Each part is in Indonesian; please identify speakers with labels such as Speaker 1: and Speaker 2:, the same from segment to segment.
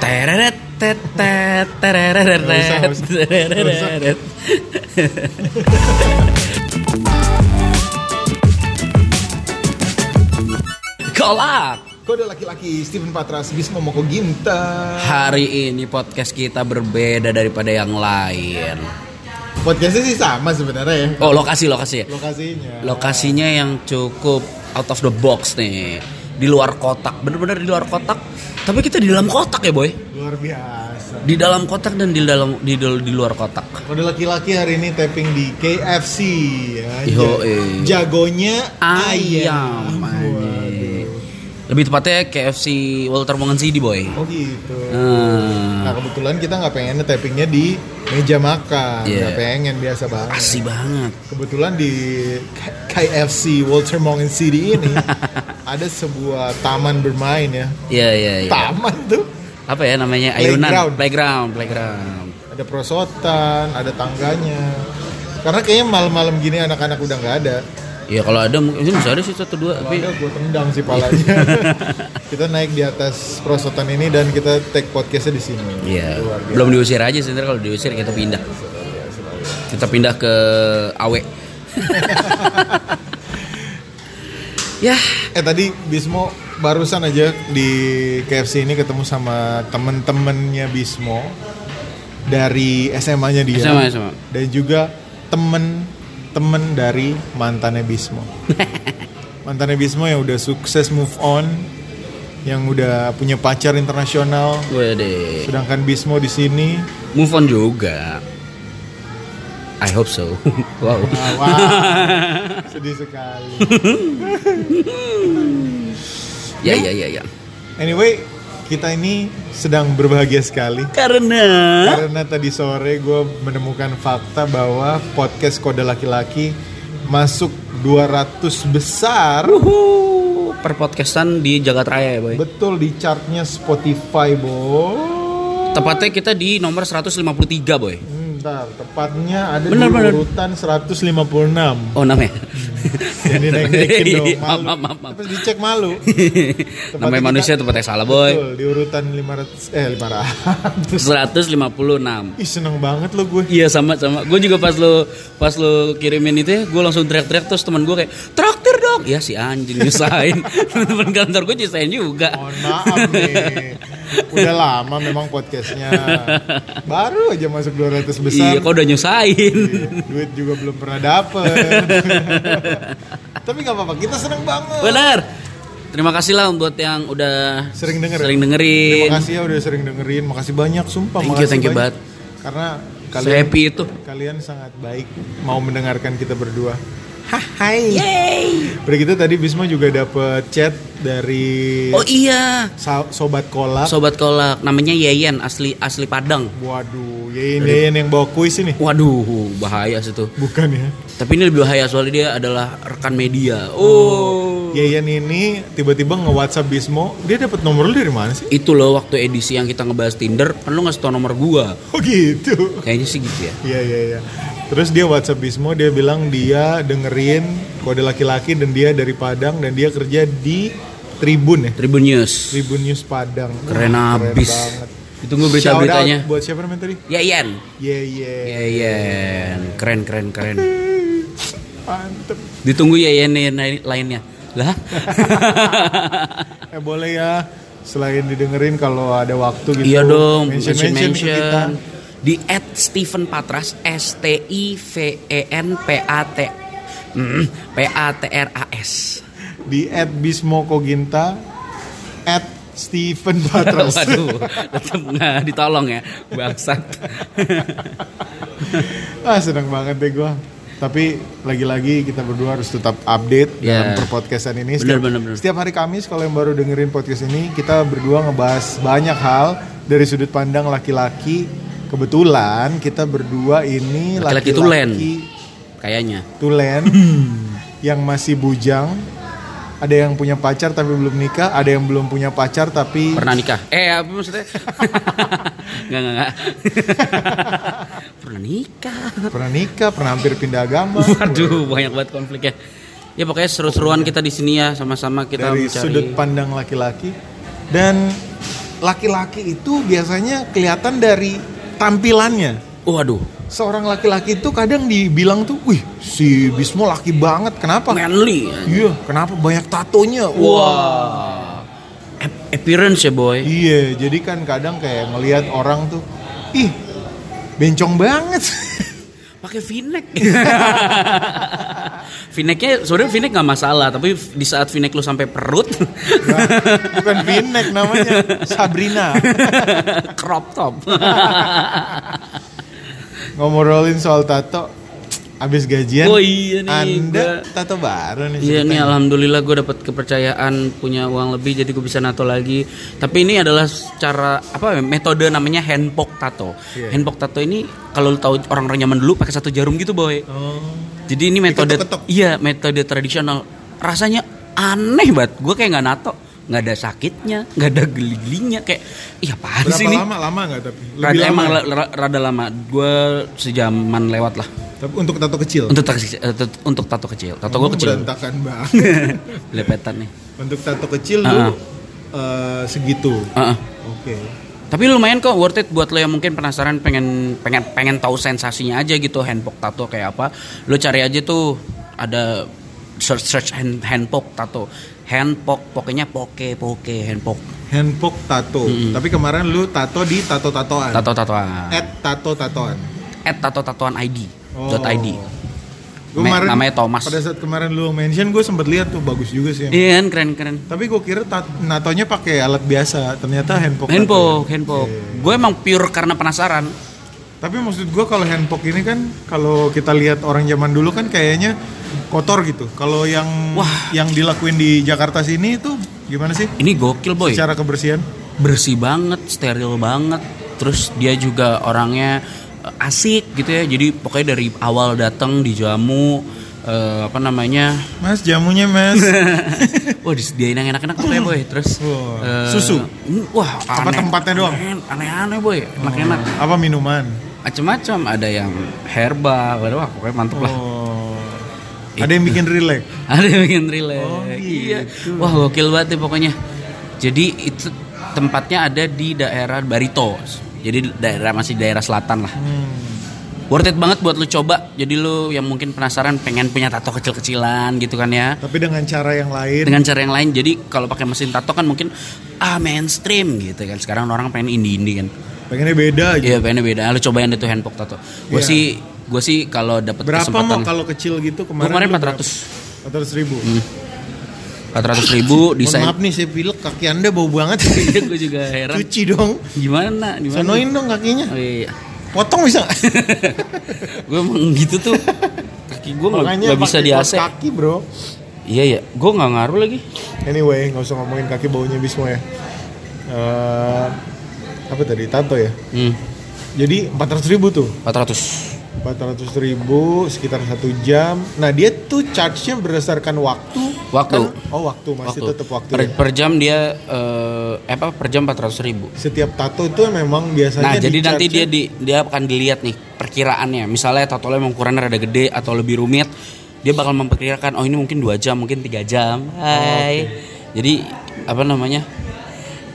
Speaker 1: Tereret tet tet tereret
Speaker 2: Nggak usah, nggak usah.
Speaker 1: tereret,
Speaker 2: Nggak usah.
Speaker 1: tereret. Kolak.
Speaker 2: Kau ada laki-laki Steven Patras Bismo Moko Ginta.
Speaker 1: Hari ini podcast kita berbeda daripada yang lain.
Speaker 2: Podcastnya sih sama sebenarnya ya
Speaker 1: Oh, lokasi lokasi ya.
Speaker 2: lokasinya.
Speaker 1: Lokasinya yang cukup out of the box nih. Di luar kotak, bener-bener di luar kotak. Tapi kita di dalam kotak ya, boy.
Speaker 2: Luar biasa.
Speaker 1: Di dalam kotak dan di dalam di, di luar kotak.
Speaker 2: Kau ada laki-laki hari ini tapping di KFC. anjay.
Speaker 1: Yo, eh.
Speaker 2: ya. Jagonya
Speaker 1: ayam.
Speaker 2: ayam.
Speaker 1: anjing.
Speaker 2: Waduh.
Speaker 1: Lebih tepatnya KFC Walter Mongan City boy.
Speaker 2: Oh gitu.
Speaker 1: Hmm,
Speaker 2: Nah kebetulan kita nggak pengennya tappingnya di meja makan.
Speaker 1: Iya.
Speaker 2: Nggak pengen biasa banget.
Speaker 1: asih banget.
Speaker 2: Kebetulan di K- KFC Walter Morgan City ini ada sebuah taman bermain ya.
Speaker 1: Iya iya iya.
Speaker 2: Taman tuh
Speaker 1: Apa ya namanya? Ayunan,
Speaker 2: Playground.
Speaker 1: playground, playground.
Speaker 2: ada prosotan, ada tangganya. Karena kayaknya malam-malam gini anak-anak udah nggak ada.
Speaker 1: Iya kalau ada mungkin bisa ada sih satu dua
Speaker 2: Kalau
Speaker 1: tapi
Speaker 2: ada gue tendang sih palanya. kita naik di atas prosotan ini dan kita take podcastnya di sini.
Speaker 1: Iya,
Speaker 2: Luar biasa.
Speaker 1: belum diusir aja sih ntar kalau diusir kita pindah. Kita pindah ke Awe. ya,
Speaker 2: Eh tadi Bismo barusan aja di KFC ini ketemu sama temen-temennya Bismo dari SMA-nya dia
Speaker 1: sama sama.
Speaker 2: dan juga temen-temen dari mantannya Bismo. mantannya Bismo yang udah sukses move on, yang udah punya pacar internasional,
Speaker 1: Gue deh.
Speaker 2: sedangkan Bismo di sini.
Speaker 1: Move on juga. I hope so. wow.
Speaker 2: Ah, Wah, sedih sekali.
Speaker 1: Ya ya ya ya.
Speaker 2: Anyway, kita ini sedang berbahagia sekali.
Speaker 1: Karena
Speaker 2: Karena tadi sore gue menemukan fakta bahwa podcast kode laki-laki masuk 200 besar.
Speaker 1: Wuhu, perpodcastan di Jagat Raya ya, Boy.
Speaker 2: Betul di chartnya Spotify, Bo.
Speaker 1: Tepatnya kita di nomor 153, Boy.
Speaker 2: Hmm, Bentar, tepatnya ada
Speaker 1: Bener,
Speaker 2: di
Speaker 1: bener.
Speaker 2: urutan 156.
Speaker 1: Oh, namanya.
Speaker 2: Jadi naik-naikin dong,
Speaker 1: Iya,
Speaker 2: malu.
Speaker 1: maaf, maaf, maaf.
Speaker 2: Tapi dicek malu.
Speaker 1: Namanya
Speaker 2: kita-
Speaker 1: manusia tempatnya salah, Boy.
Speaker 2: Betul, di urutan 500 eh 500.
Speaker 1: 156.
Speaker 2: Ih, seneng banget lo gue.
Speaker 1: Iya sama sama. Gue juga pas lo pas lo kirimin itu ya, gue langsung teriak-teriak terus teman gue kayak traktir dong. Ya si anjing nyusahin. Teman-teman kantor gue nyusahin juga.
Speaker 2: Mohon maaf nih. Udah lama memang podcastnya. Baru aja masuk 200 besar.
Speaker 1: Iya, kok udah nyusahin.
Speaker 2: Iya. Duit juga belum pernah dapet. Tapi nggak apa-apa, kita seneng banget.
Speaker 1: Bener. Terima kasih lah buat yang udah
Speaker 2: Sering denger. ya?
Speaker 1: Sering dengerin.
Speaker 2: Terima kasih ya udah sering dengerin. Makasih banyak, sumpah.
Speaker 1: Thank you,
Speaker 2: makasih
Speaker 1: thank you
Speaker 2: banyak. Karena
Speaker 1: Saya
Speaker 2: kalian
Speaker 1: happy itu.
Speaker 2: kalian sangat baik mau mendengarkan kita berdua. Hai.
Speaker 1: Yay.
Speaker 2: Begitu tadi Bisma juga dapet chat dari
Speaker 1: Oh iya.
Speaker 2: sa- sobat kolak.
Speaker 1: Sobat kolak namanya Yeyen asli asli Padang.
Speaker 2: Waduh, Yein Yein yang bawa kuis ini.
Speaker 1: Waduh, bahaya sih tuh.
Speaker 2: Bukan ya.
Speaker 1: Tapi ini lebih bahaya soalnya dia adalah rekan media. Oh.
Speaker 2: Yayan ini tiba-tiba nge-WhatsApp Bismo, dia dapat nomor lu dari mana sih?
Speaker 1: Itu loh waktu edisi yang kita ngebahas Tinder, kan lu ngasih tau nomor gua.
Speaker 2: Oh gitu.
Speaker 1: Kayaknya sih gitu ya.
Speaker 2: Iya iya iya. Terus dia WhatsApp Bismo, dia bilang dia dengerin kode laki-laki dan dia dari Padang dan dia kerja di Tribun ya.
Speaker 1: Tribun News.
Speaker 2: Tribun News Padang.
Speaker 1: Keren
Speaker 2: Wah,
Speaker 1: abis.
Speaker 2: banget.
Speaker 1: Itu gue
Speaker 2: Shout out
Speaker 1: berita-beritanya.
Speaker 2: buat siapa namanya tadi?
Speaker 1: Yeyen.
Speaker 2: Iya iya.
Speaker 1: Yeyen. Keren, keren, keren.
Speaker 2: Mantep.
Speaker 1: Ditunggu ya, Yeyen lain- lainnya. Lah?
Speaker 2: Gitu. Eh boleh ya selain didengerin kalau ada waktu gitu.
Speaker 1: iya dong.
Speaker 2: Mention-mention
Speaker 1: Mention,
Speaker 2: ke kita.
Speaker 1: mention. Di at Steven Patras. E S-T-I-V-E-N-P-A-T. Mm, P-A-T-R-A-S.
Speaker 2: di at Bismo Koginta at Steven Patras
Speaker 1: Waduh, tetap nggak ditolong ya, bangsat.
Speaker 2: ah seneng banget deh gue tapi lagi-lagi kita berdua harus tetap update
Speaker 1: Ya.
Speaker 2: dalam perpodcastan ini
Speaker 1: Bener,
Speaker 2: setiap,
Speaker 1: bener, bener.
Speaker 2: setiap hari Kamis kalau yang baru dengerin podcast ini kita berdua ngebahas banyak hal dari sudut pandang laki-laki kebetulan kita berdua ini
Speaker 1: Laki-laki
Speaker 2: laki-laki
Speaker 1: tulen. Hmm. Kayaknya.
Speaker 2: tulen yang masih bujang ada yang punya pacar tapi belum nikah ada yang belum punya pacar tapi
Speaker 1: pernah nikah eh apa maksudnya nggak nggak nggak pernah nikah
Speaker 2: pernah nikah pernah hampir pindah agama
Speaker 1: waduh banyak banget konfliknya ya pokoknya seru-seruan kita di sini ya sama-sama kita
Speaker 2: dari
Speaker 1: mencari
Speaker 2: sudut pandang laki-laki dan laki-laki itu biasanya kelihatan dari tampilannya.
Speaker 1: Waduh,
Speaker 2: Seorang laki-laki itu kadang dibilang tuh, wih si Bismo laki banget, kenapa?
Speaker 1: manly.
Speaker 2: Iya, kenapa banyak tatonya? Wah.
Speaker 1: Wah. Ap- Appearance ya boy.
Speaker 2: Iya, jadi kan kadang kayak ngelihat orang tuh, ih bencong banget.
Speaker 1: Pakai V-neck. V-necknya sebenarnya V-neck nggak masalah, tapi di saat V-neck lu sampai perut, Iya.
Speaker 2: Nah, Bukan vinek namanya, Sabrina.
Speaker 1: crop top.
Speaker 2: Ngomorolin soal tato, abis gajian,
Speaker 1: Oh iya nih,
Speaker 2: anda
Speaker 1: gua-
Speaker 2: tato baru nih.
Speaker 1: Iya nih
Speaker 2: ceritanya.
Speaker 1: alhamdulillah gue dapat kepercayaan punya uang lebih jadi gue bisa nato lagi. Tapi ini adalah cara apa ya, metode namanya handpok tato.
Speaker 2: Iya.
Speaker 1: Handpok tato ini kalau lu tahu orang-orang zaman dulu pakai satu jarum gitu boy.
Speaker 2: Oh.
Speaker 1: Jadi ini metode
Speaker 2: Diketok-ketok.
Speaker 1: iya metode tradisional. Rasanya aneh banget. Gue kayak nggak nato, nggak ada sakitnya, nggak ada geli-gelinya kayak iya apaan
Speaker 2: Berapa
Speaker 1: sih ini?
Speaker 2: lama? Lama nggak tapi?
Speaker 1: Rada,
Speaker 2: lama. ya?
Speaker 1: emang la- ra- rada lama. Gue sejaman lewat lah
Speaker 2: Tapi untuk tato kecil.
Speaker 1: untuk tato, untuk tato kecil. Tato gue
Speaker 2: Kamu
Speaker 1: kecil.
Speaker 2: Oh, Berantakan banget.
Speaker 1: Lepetan nih.
Speaker 2: untuk tato kecil lu
Speaker 1: Ah.
Speaker 2: eh, segitu.
Speaker 1: Heeh.
Speaker 2: Oke.
Speaker 1: Tapi lumayan kok worth it buat lo yang mungkin penasaran pengen pengen pengen tahu sensasinya aja gitu handpok tato kayak apa. Lo cari aja tuh ada search search hand handpok tato. Handpok pokoknya poke poke handpok
Speaker 2: Handpok tato. Tapi kemarin lu tato di tato tatoan.
Speaker 1: tato tatoan.
Speaker 2: At tato tatoan.
Speaker 1: At tato tatoan ID. Dot ID.
Speaker 2: Oh. Gua
Speaker 1: Me-
Speaker 2: kemarin-
Speaker 1: namanya Thomas.
Speaker 2: Pada saat kemarin lu mention gue sempet lihat tuh bagus juga sih.
Speaker 1: Iya kan keren keren.
Speaker 2: Tapi gue kira tat- natonya pakai alat biasa, ternyata handpok. tato. Iya.
Speaker 1: Handpok handpok. Gue emang pure karena penasaran.
Speaker 2: Tapi maksud gue kalau handpok ini kan kalau kita lihat orang zaman dulu kan kayaknya kotor gitu. Kalau yang
Speaker 1: Wah.
Speaker 2: yang dilakuin di Jakarta sini itu gimana sih?
Speaker 1: Ini gokil boy.
Speaker 2: Secara kebersihan?
Speaker 1: bersih banget, steril banget. Terus dia juga orangnya eh, asik gitu ya. Jadi pokoknya dari awal datang dijamu eh, apa namanya?
Speaker 2: Mas jamunya mas.
Speaker 1: Wah, disediain yang enak-enak tuh ya, boy. Terus
Speaker 2: Wah,
Speaker 1: eh,
Speaker 2: susu?
Speaker 1: Wah,
Speaker 2: Apa
Speaker 1: aneh-
Speaker 2: tempatnya doang? Oh.
Speaker 1: aneh- Aneh-aneh, boy. Enak-enak.
Speaker 2: Apa minuman?
Speaker 1: Macam-macam ada yang herbal, wah Iya. pokoknya mantep lah.
Speaker 2: Oh. Ada yang bikin rilek.
Speaker 1: Ada yang bikin relax.
Speaker 2: Oh,
Speaker 1: iya. Wah, gokil banget deh pokoknya. Jadi itu tempatnya ada di daerah Barito. Jadi daerah masih daerah selatan lah.
Speaker 2: Hmm.
Speaker 1: Worth it banget buat lu coba. Jadi lu yang mungkin penasaran pengen punya tato kecil-kecilan gitu kan ya.
Speaker 2: Tapi dengan cara yang lain.
Speaker 1: Dengan cara yang lain. Jadi kalau pakai mesin tato kan mungkin ah mainstream gitu kan. Sekarang orang pengen indie-indie kan.
Speaker 2: Pengennya beda aja.
Speaker 1: Iya, pengennya beda. Ah, Lu cobain deh tuh handpok tato. Gue
Speaker 2: Iya.
Speaker 1: sih gue sih kalau dapat
Speaker 2: Berapa mau
Speaker 1: kesempatan
Speaker 2: kalau kecil gitu
Speaker 1: Gua kemarin
Speaker 2: kemarin? lu
Speaker 1: 400
Speaker 2: berapa? 400 ribu.
Speaker 1: 400 ribu
Speaker 2: Mohon
Speaker 1: desain
Speaker 2: maaf nih saya pilek kaki anda bau banget.
Speaker 1: gue juga heran
Speaker 2: Cuci dong.
Speaker 1: gimana gimana
Speaker 2: Sonoin dong kakinya.
Speaker 1: oh, iya.
Speaker 2: Potong bisa nggak?
Speaker 1: gue emang gitu tuh kaki gue nggak
Speaker 2: Makanya
Speaker 1: nggak bisa
Speaker 2: pakai
Speaker 1: di
Speaker 2: kaos
Speaker 1: AC
Speaker 2: Kaki bro.
Speaker 1: iya iya gue nggak ngaruh lagi
Speaker 2: Anyway, nggak usah ngomongin kaki baunya Bismo ya. Eh, apa tadi tato ya?
Speaker 1: hmm,
Speaker 2: Jadi 400 ribu tuh.
Speaker 1: 400
Speaker 2: 400 ribu sekitar satu jam. Nah dia tuh charge-nya berdasarkan waktu.
Speaker 1: Waktu.
Speaker 2: Kan- oh waktu masih tetap waktu.
Speaker 1: per,
Speaker 2: ya.
Speaker 1: per jam dia eh, apa per jam 400 ribu
Speaker 2: Setiap tato itu memang
Speaker 1: nah
Speaker 2: biasanya.
Speaker 1: jadi nanti dia
Speaker 2: di-charge-nya-
Speaker 1: di dia akan dilihat nih perkiraannya misalnya tato lo emang ukurannya rada gede atau lebih rumit dia bakal memperkirakan oh ini mungkin dua jam mungkin tiga jam hai jadi apa namanya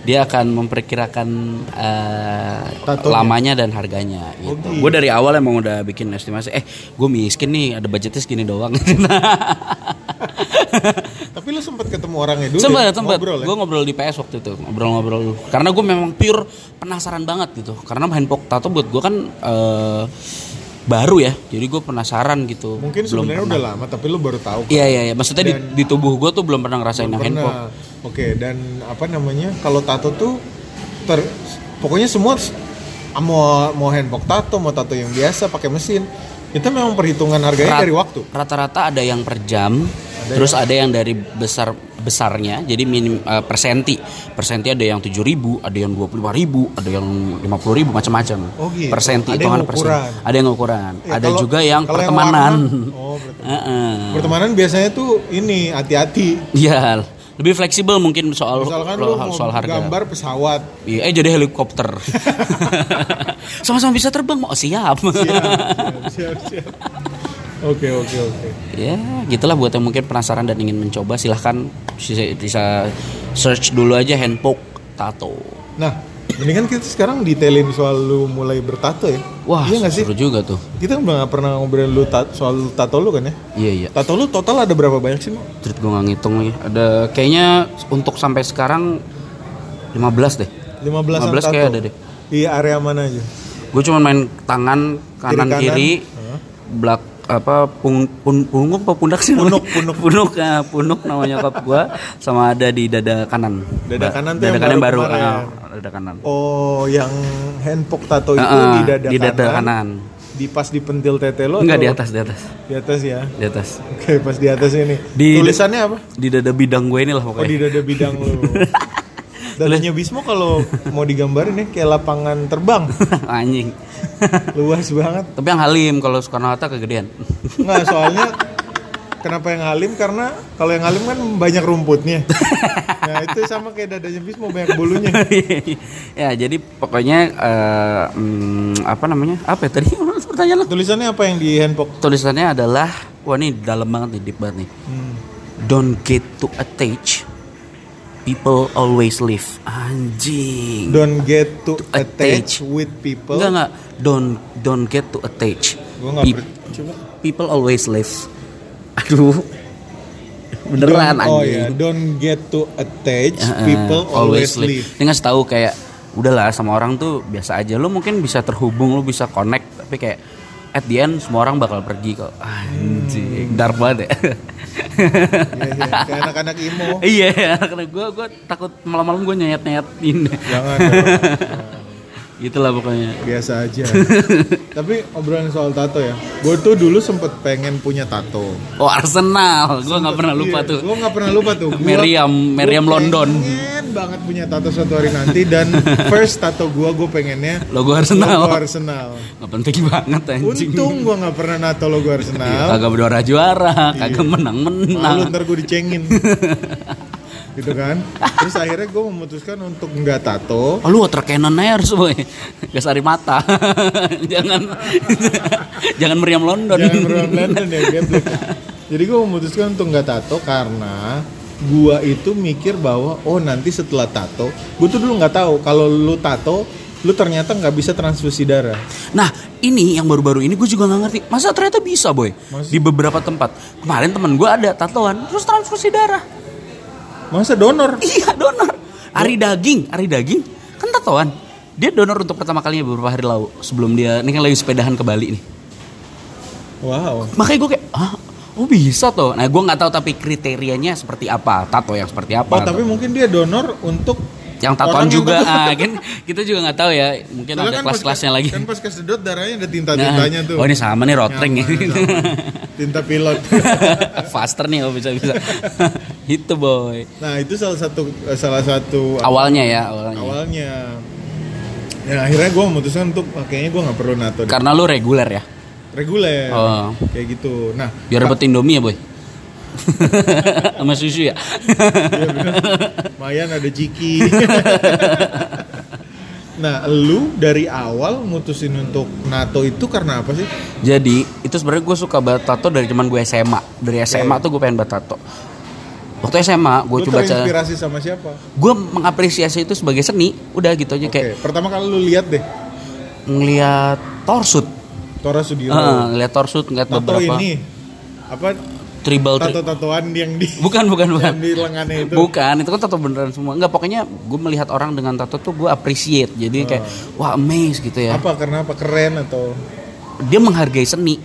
Speaker 1: dia akan memperkirakan eh,
Speaker 2: Tatonya.
Speaker 1: lamanya dan harganya gitu.
Speaker 2: Oh, gitu.
Speaker 1: Gue dari awal emang udah bikin estimasi. Eh, gue miskin nih, ada budgetnya segini doang.
Speaker 2: Tapi lu sempat ketemu orangnya dulu.
Speaker 1: Sempat,
Speaker 2: ya?
Speaker 1: sempat.
Speaker 2: Ngobrol ya?
Speaker 1: Gue ngobrol di PS waktu itu, ngobrol-ngobrol. Karena gue memang pure penasaran banget gitu. Karena handpok tato buat gue kan eh, baru ya, jadi gue penasaran gitu.
Speaker 2: Mungkin
Speaker 1: belum.
Speaker 2: sebenarnya udah lama, tapi lu baru tahu.
Speaker 1: Iya iya, iya. maksudnya di, di tubuh gue tuh belum pernah ngerasain yang handpok.
Speaker 2: Pernah. Oke, dan apa namanya? Kalau tato tuh ter pokoknya semua s- ah, mau mau handpok tato, mau tato yang biasa pakai mesin. Kita memang perhitungan harganya
Speaker 1: Rat-
Speaker 2: dari waktu.
Speaker 1: Rata-rata ada yang per jam, terus ada yang dari besar besarnya, jadi minim eh, persenti. Persenti ada yang 7.000, ada yang 25.000, ada yang 50.000 macam-macam.
Speaker 2: Oh, gitu.
Speaker 1: Persenti
Speaker 2: Ada yang
Speaker 1: hitungan
Speaker 2: ukuran.
Speaker 1: persen. Ada yang ukuran.
Speaker 2: Ya,
Speaker 1: ada
Speaker 2: kalau-
Speaker 1: juga yang
Speaker 2: kalau
Speaker 1: pertemanan.
Speaker 2: warna- oh, pertemanan.
Speaker 1: Heeh.
Speaker 2: Pertemanan biasanya tuh ini hati-hati.
Speaker 1: Iya, lebih fleksibel mungkin soal
Speaker 2: Misalkan
Speaker 1: soal,
Speaker 2: lu mau
Speaker 1: soal harga.
Speaker 2: gambar pesawat.
Speaker 1: Iya, eh jadi helikopter. Sama-sama bisa terbang, mau siap.
Speaker 2: Siap, Iya, siap, siap. Oke, oke, oke.
Speaker 1: ya, gitulah buat yang mungkin penasaran dan ingin mencoba silahkan bisa, bisa search dulu aja handpok tato.
Speaker 2: Nah, ini kan kita sekarang detailin soal lu mulai bertato ya.
Speaker 1: Wah,
Speaker 2: iya nggak sih?
Speaker 1: seru juga tuh.
Speaker 2: Kita nggak pernah ngobrolin lu tat- soal tato lu kan ya?
Speaker 1: Iya, iya.
Speaker 2: Tato lu total ada berapa banyak sih? Mo?
Speaker 1: Street gue nggak ngitung lagi. Ada kayaknya untuk sampai sekarang 15 deh.
Speaker 2: 15
Speaker 1: 15
Speaker 2: an tato.
Speaker 1: kayak ada deh.
Speaker 2: Di area mana aja?
Speaker 1: Gue cuma main tangan kanan
Speaker 2: kanan.
Speaker 1: kiri, belak apa pung, pun, punggung apa pundak sih namanya?
Speaker 2: Punuk, punuk.
Speaker 1: punuk eh, punuk nama nyokap gue sama ada di dada kanan
Speaker 2: Dada
Speaker 1: Ba-
Speaker 2: kanan tuh
Speaker 1: dada
Speaker 2: yang
Speaker 1: kanan
Speaker 2: baru
Speaker 1: baru,
Speaker 2: kemarin.
Speaker 1: ah, dada kanan
Speaker 2: Oh, yang handpok tato Oh, itu
Speaker 1: Heeh,
Speaker 2: di dada,
Speaker 1: di dada
Speaker 2: kanan, Oh,
Speaker 1: kanan.
Speaker 2: Di pas di pentil tete lo
Speaker 1: enggak di
Speaker 2: atau-
Speaker 1: atas di atas
Speaker 2: Di atas ya.
Speaker 1: di atas
Speaker 2: Oke, pas di atas ini.
Speaker 1: Di-
Speaker 2: Tulisannya apa?
Speaker 1: di dada bidang gue ini lah
Speaker 2: Oh, di
Speaker 1: pokoknya
Speaker 2: dada bidang lu. Dadanya Bismo kalau mau digambarin ya kayak lapangan terbang.
Speaker 1: anjing
Speaker 2: Luas banget.
Speaker 1: tapi yang halim kalau Soekarno Hatta kegedean
Speaker 2: Nggak, soalnya kenapa yang halim? Karena kalau yang halim kan banyak rumputnya. Nah, itu sama kayak dadanya Bismo banyak bulunya.
Speaker 1: ya jadi pokoknya eh, hmm, apa namanya apa ya tadi pertanyaan lo
Speaker 2: Tulisannya apa yang di handpok?
Speaker 1: tulisannya adalah wah ini dalam banget nih deep banget nih
Speaker 2: Hmm.
Speaker 1: don't get to attach people always leave anjing
Speaker 2: Don't get to
Speaker 1: attach.
Speaker 2: attach with people.
Speaker 1: enggak enggak don't don't get to attach
Speaker 2: Gua nggak
Speaker 1: Pe-
Speaker 2: ber- coba.
Speaker 1: people always leave aduh beneran anjing
Speaker 2: Don't- Oh
Speaker 1: Uh-uh.
Speaker 2: ya, don't get to attach.
Speaker 1: Heeh,
Speaker 2: people always, leave.
Speaker 1: Ini ngasih tahu kayak udahlah sama orang tuh biasa aja. Lu mungkin bisa terhubung, lu bisa connect, tapi kayak at the end semua orang bakal pergi kok.
Speaker 2: Hmm.
Speaker 1: Anjing, dark banget ya.
Speaker 2: Iya, iya. Kayak anak-anak emo.
Speaker 1: Iya, karena gue gua takut malam-malam gue nyayat-nyayatin.
Speaker 2: Jangan. dong.
Speaker 1: Itulah pokoknya.
Speaker 2: Biasa aja. Tapi obrolan soal tato ya. Gue tuh dulu sempet pengen punya tato.
Speaker 1: Oh, Arsenal. Gue nggak
Speaker 2: Iya.
Speaker 1: pernah lupa tuh.
Speaker 2: Gue nggak pernah lupa tuh. Gua-
Speaker 1: Meriam, Meriam
Speaker 2: gua
Speaker 1: London.
Speaker 2: Pengen banget punya tato suatu hari nanti dan first tato gue gue pengennya
Speaker 1: Logo
Speaker 2: logo
Speaker 1: Arsenal.
Speaker 2: Arsenal.
Speaker 1: Gak penting banget anjing.
Speaker 2: Iya.
Speaker 1: Iya.
Speaker 2: Untung gue nggak pernah nato logo Arsenal.
Speaker 1: Kagak berdoa juara, kagak menang-menang.
Speaker 2: Iya. Malu ntar gue dicengin Nah. Gitu kan Terus akhirnya gue memutuskan untuk nggak tato
Speaker 1: Oh, lu water cannon aja harus boy Gas air mata Jangan Jangan meriam London
Speaker 2: Jangan berulang London ya geblek. Jadi gue memutuskan untuk nggak tato karena gue itu mikir bahwa oh nanti setelah tato gue tuh dulu nggak tahu kalau lu tato lu ternyata nggak bisa transfusi darah
Speaker 1: Nah ini yang baru-baru ini gue juga gak ngerti Masa ternyata bisa boy
Speaker 2: Maksud-
Speaker 1: Di beberapa tempat Kemarin temen gue ada tatoan Terus transfusi darah
Speaker 2: masa donor
Speaker 1: Iya donor Ari daging Ari daging Kan tatoan Dia donor untuk pertama kalinya beberapa hari lalu Sebelum dia Ini kan lagi sepedahan ke Bali nih
Speaker 2: wow
Speaker 1: Makanya gue kayak ah, Oh bisa toh Nah gue gak tahu tapi kriterianya seperti apa Tato yang seperti apa
Speaker 2: oh tapi mungkin dia donor untuk
Speaker 1: yang tatoan
Speaker 2: orang yang
Speaker 1: juga
Speaker 2: tato.
Speaker 1: ah, kan kita juga nggak tahu ya mungkin
Speaker 2: Soalnya
Speaker 1: ada
Speaker 2: pas-
Speaker 1: kelas-kelasnya lagi
Speaker 2: kan pas kesedot darahnya ada tinta tintanya
Speaker 1: Nah,
Speaker 2: tuh
Speaker 1: oh ini sama nih rotring ya
Speaker 2: Nyaman, nyaman. tinta pilot
Speaker 1: faster nih oh, kalau bisa bisa itu boy
Speaker 2: Nah itu salah satu salah satu
Speaker 1: awalnya ya awalnya
Speaker 2: awalnya. Dan akhirnya gue memutuskan untuk ah, kayaknya gue nggak perlu nato deh.
Speaker 1: karena lu reguler ya
Speaker 2: reguler
Speaker 1: Oh.
Speaker 2: kayak gitu. Nah
Speaker 1: biar dapet Indomie ya boy sama susu ya
Speaker 2: iya bener. Mayan ada Jiki. nah lu dari awal mutusin untuk nato itu karena apa sih?
Speaker 1: jadi itu sebenarnya gue suka banget tato dari zaman gue SMA dari SMA tuh gue pengen banget tato waktu SMA gue
Speaker 2: Lu
Speaker 1: coba baca
Speaker 2: terinspirasi sama siapa?
Speaker 1: gue mengapresiasi itu sebagai seni udah gitu aja kayak
Speaker 2: Oke pertama kali lu lihat deh
Speaker 1: ngeliat torsut
Speaker 2: Tora Sudiro.
Speaker 1: Heeh, ngeliat torsut ngeliat
Speaker 2: Tato
Speaker 1: Ah, beberapa
Speaker 2: ini apa
Speaker 1: tribal tri-
Speaker 2: tato-tatoan yang di
Speaker 1: bukan bukan bukan
Speaker 2: yang di lengannya itu?
Speaker 1: bukan itu kan tato beneran semua nggak pokoknya gue melihat orang dengan tato tuh gue appreciate jadi kayak wah amazed gitu ya
Speaker 2: Ah. Apa karena apa keren atau?
Speaker 1: dia menghargai seni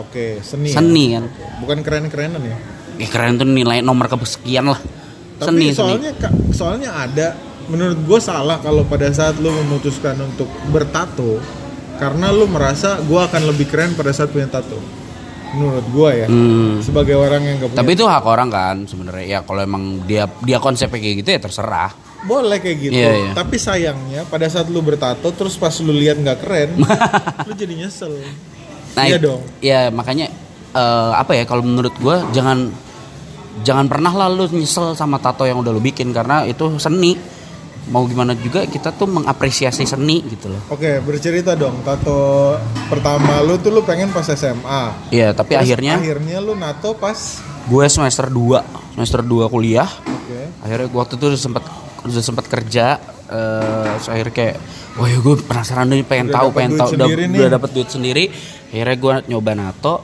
Speaker 2: Oke, seni. ya?
Speaker 1: seni kan
Speaker 2: Bukan keren-kerenan ya.
Speaker 1: ya keren tuh nilai nomor kesekian lah
Speaker 2: Tapi
Speaker 1: seni seni
Speaker 2: soalnya ka- soalnya ada menurut gue salah kalau pada saat lu memutuskan untuk bertato karena lu merasa gue akan lebih keren pada saat punya tato. Menurut gue ya.
Speaker 1: Hmm.
Speaker 2: Sebagai orang yang gak punya
Speaker 1: tapi itu hak orang kan sebenarnya ya kalau emang dia dia konsepnya kayak gitu ya terserah
Speaker 2: boleh kayak gitu.
Speaker 1: Iya, iya.
Speaker 2: Tapi sayangnya pada saat lu bertato terus pas lu lihat nggak keren, lu jadi nyesel. iya
Speaker 1: itu-
Speaker 2: dong.
Speaker 1: ya makanya eh, apa ya kalau menurut gue jangan jangan pernah lah lu nyesel sama tato yang udah lu bikin karena itu seni mau gimana juga kita tuh mengapresiasi seni gitu loh
Speaker 2: Oke, bercerita dong tato pertama lu tuh lu pengen pas SMA.
Speaker 1: Iya, tapi
Speaker 2: Terus
Speaker 1: akhirnya
Speaker 2: akhirnya lu nato pas
Speaker 1: gue semester 2, semester 2 kuliah.
Speaker 2: Oke.
Speaker 1: Akhirnya gua waktu itu udah sempat udah sempat kerja eh akhir kayak wah ya gue penasaran nih pengen
Speaker 2: Udah
Speaker 1: tahu
Speaker 2: dapet
Speaker 1: pengen
Speaker 2: duit
Speaker 1: tahu udah,
Speaker 2: sendiri nih.
Speaker 1: udah dapet duit sendiri akhirnya gue nyoba nato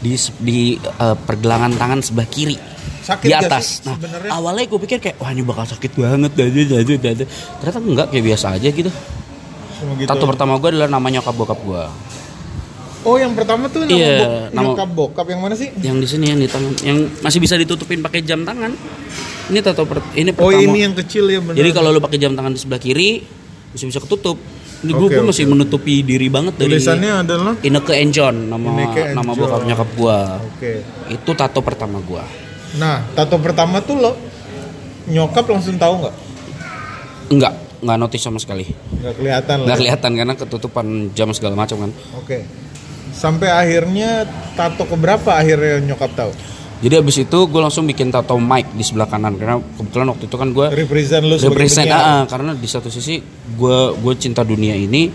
Speaker 1: di se- di eh, pergelangan tangan sebelah kiri
Speaker 2: Sakit
Speaker 1: di
Speaker 2: nggak sih
Speaker 1: atas nah
Speaker 2: sebenarnya?
Speaker 1: awalnya gue pikir kayak wah ini bakal sakit banget dadu dadu dadu ternyata enggak kayak biasa aja gitu,
Speaker 2: Cuma gitu.
Speaker 1: tato pertama gue adalah nama nyokap bokap gue
Speaker 2: Oh, yang pertama tuh nama
Speaker 1: Iya,
Speaker 2: bok-
Speaker 1: nama-
Speaker 2: nyokap bokap yang mana sih?
Speaker 1: yang di sini yang di tangan yang masih bisa ditutupin pakai jam tangan ini tato per, ini pertama
Speaker 2: Oh, ini yang kecil ya benar.
Speaker 1: Jadi kalau lu pakai jam tangan di sebelah kiri masih bisa ketutup. Ini gue
Speaker 2: Oke,
Speaker 1: gue
Speaker 2: oke,
Speaker 1: masih menutupi diri banget dari
Speaker 2: tulisannya adalah
Speaker 1: Ineke Enjon nama
Speaker 2: Ineke Enjon.
Speaker 1: nama bokap nyokap gua.
Speaker 2: Oke.
Speaker 1: Itu tato pertama gua.
Speaker 2: Nah, tato pertama tuh lo nyokap langsung tahu nggak?
Speaker 1: Enggak, enggak notice sama sekali.
Speaker 2: Nggak kelihatan lah.
Speaker 1: Enggak kelihatan karena ketutupan jam segala macam kan.
Speaker 2: Oke. Sampai akhirnya tato keberapa akhirnya nyokap tahu?
Speaker 1: Jadi abis itu gue langsung bikin tato mic di sebelah kanan karena kebetulan waktu itu kan gue
Speaker 2: Represent lu sebagai
Speaker 1: represent
Speaker 2: penyiar.
Speaker 1: ah, karena di satu sisi gue gue cinta dunia ini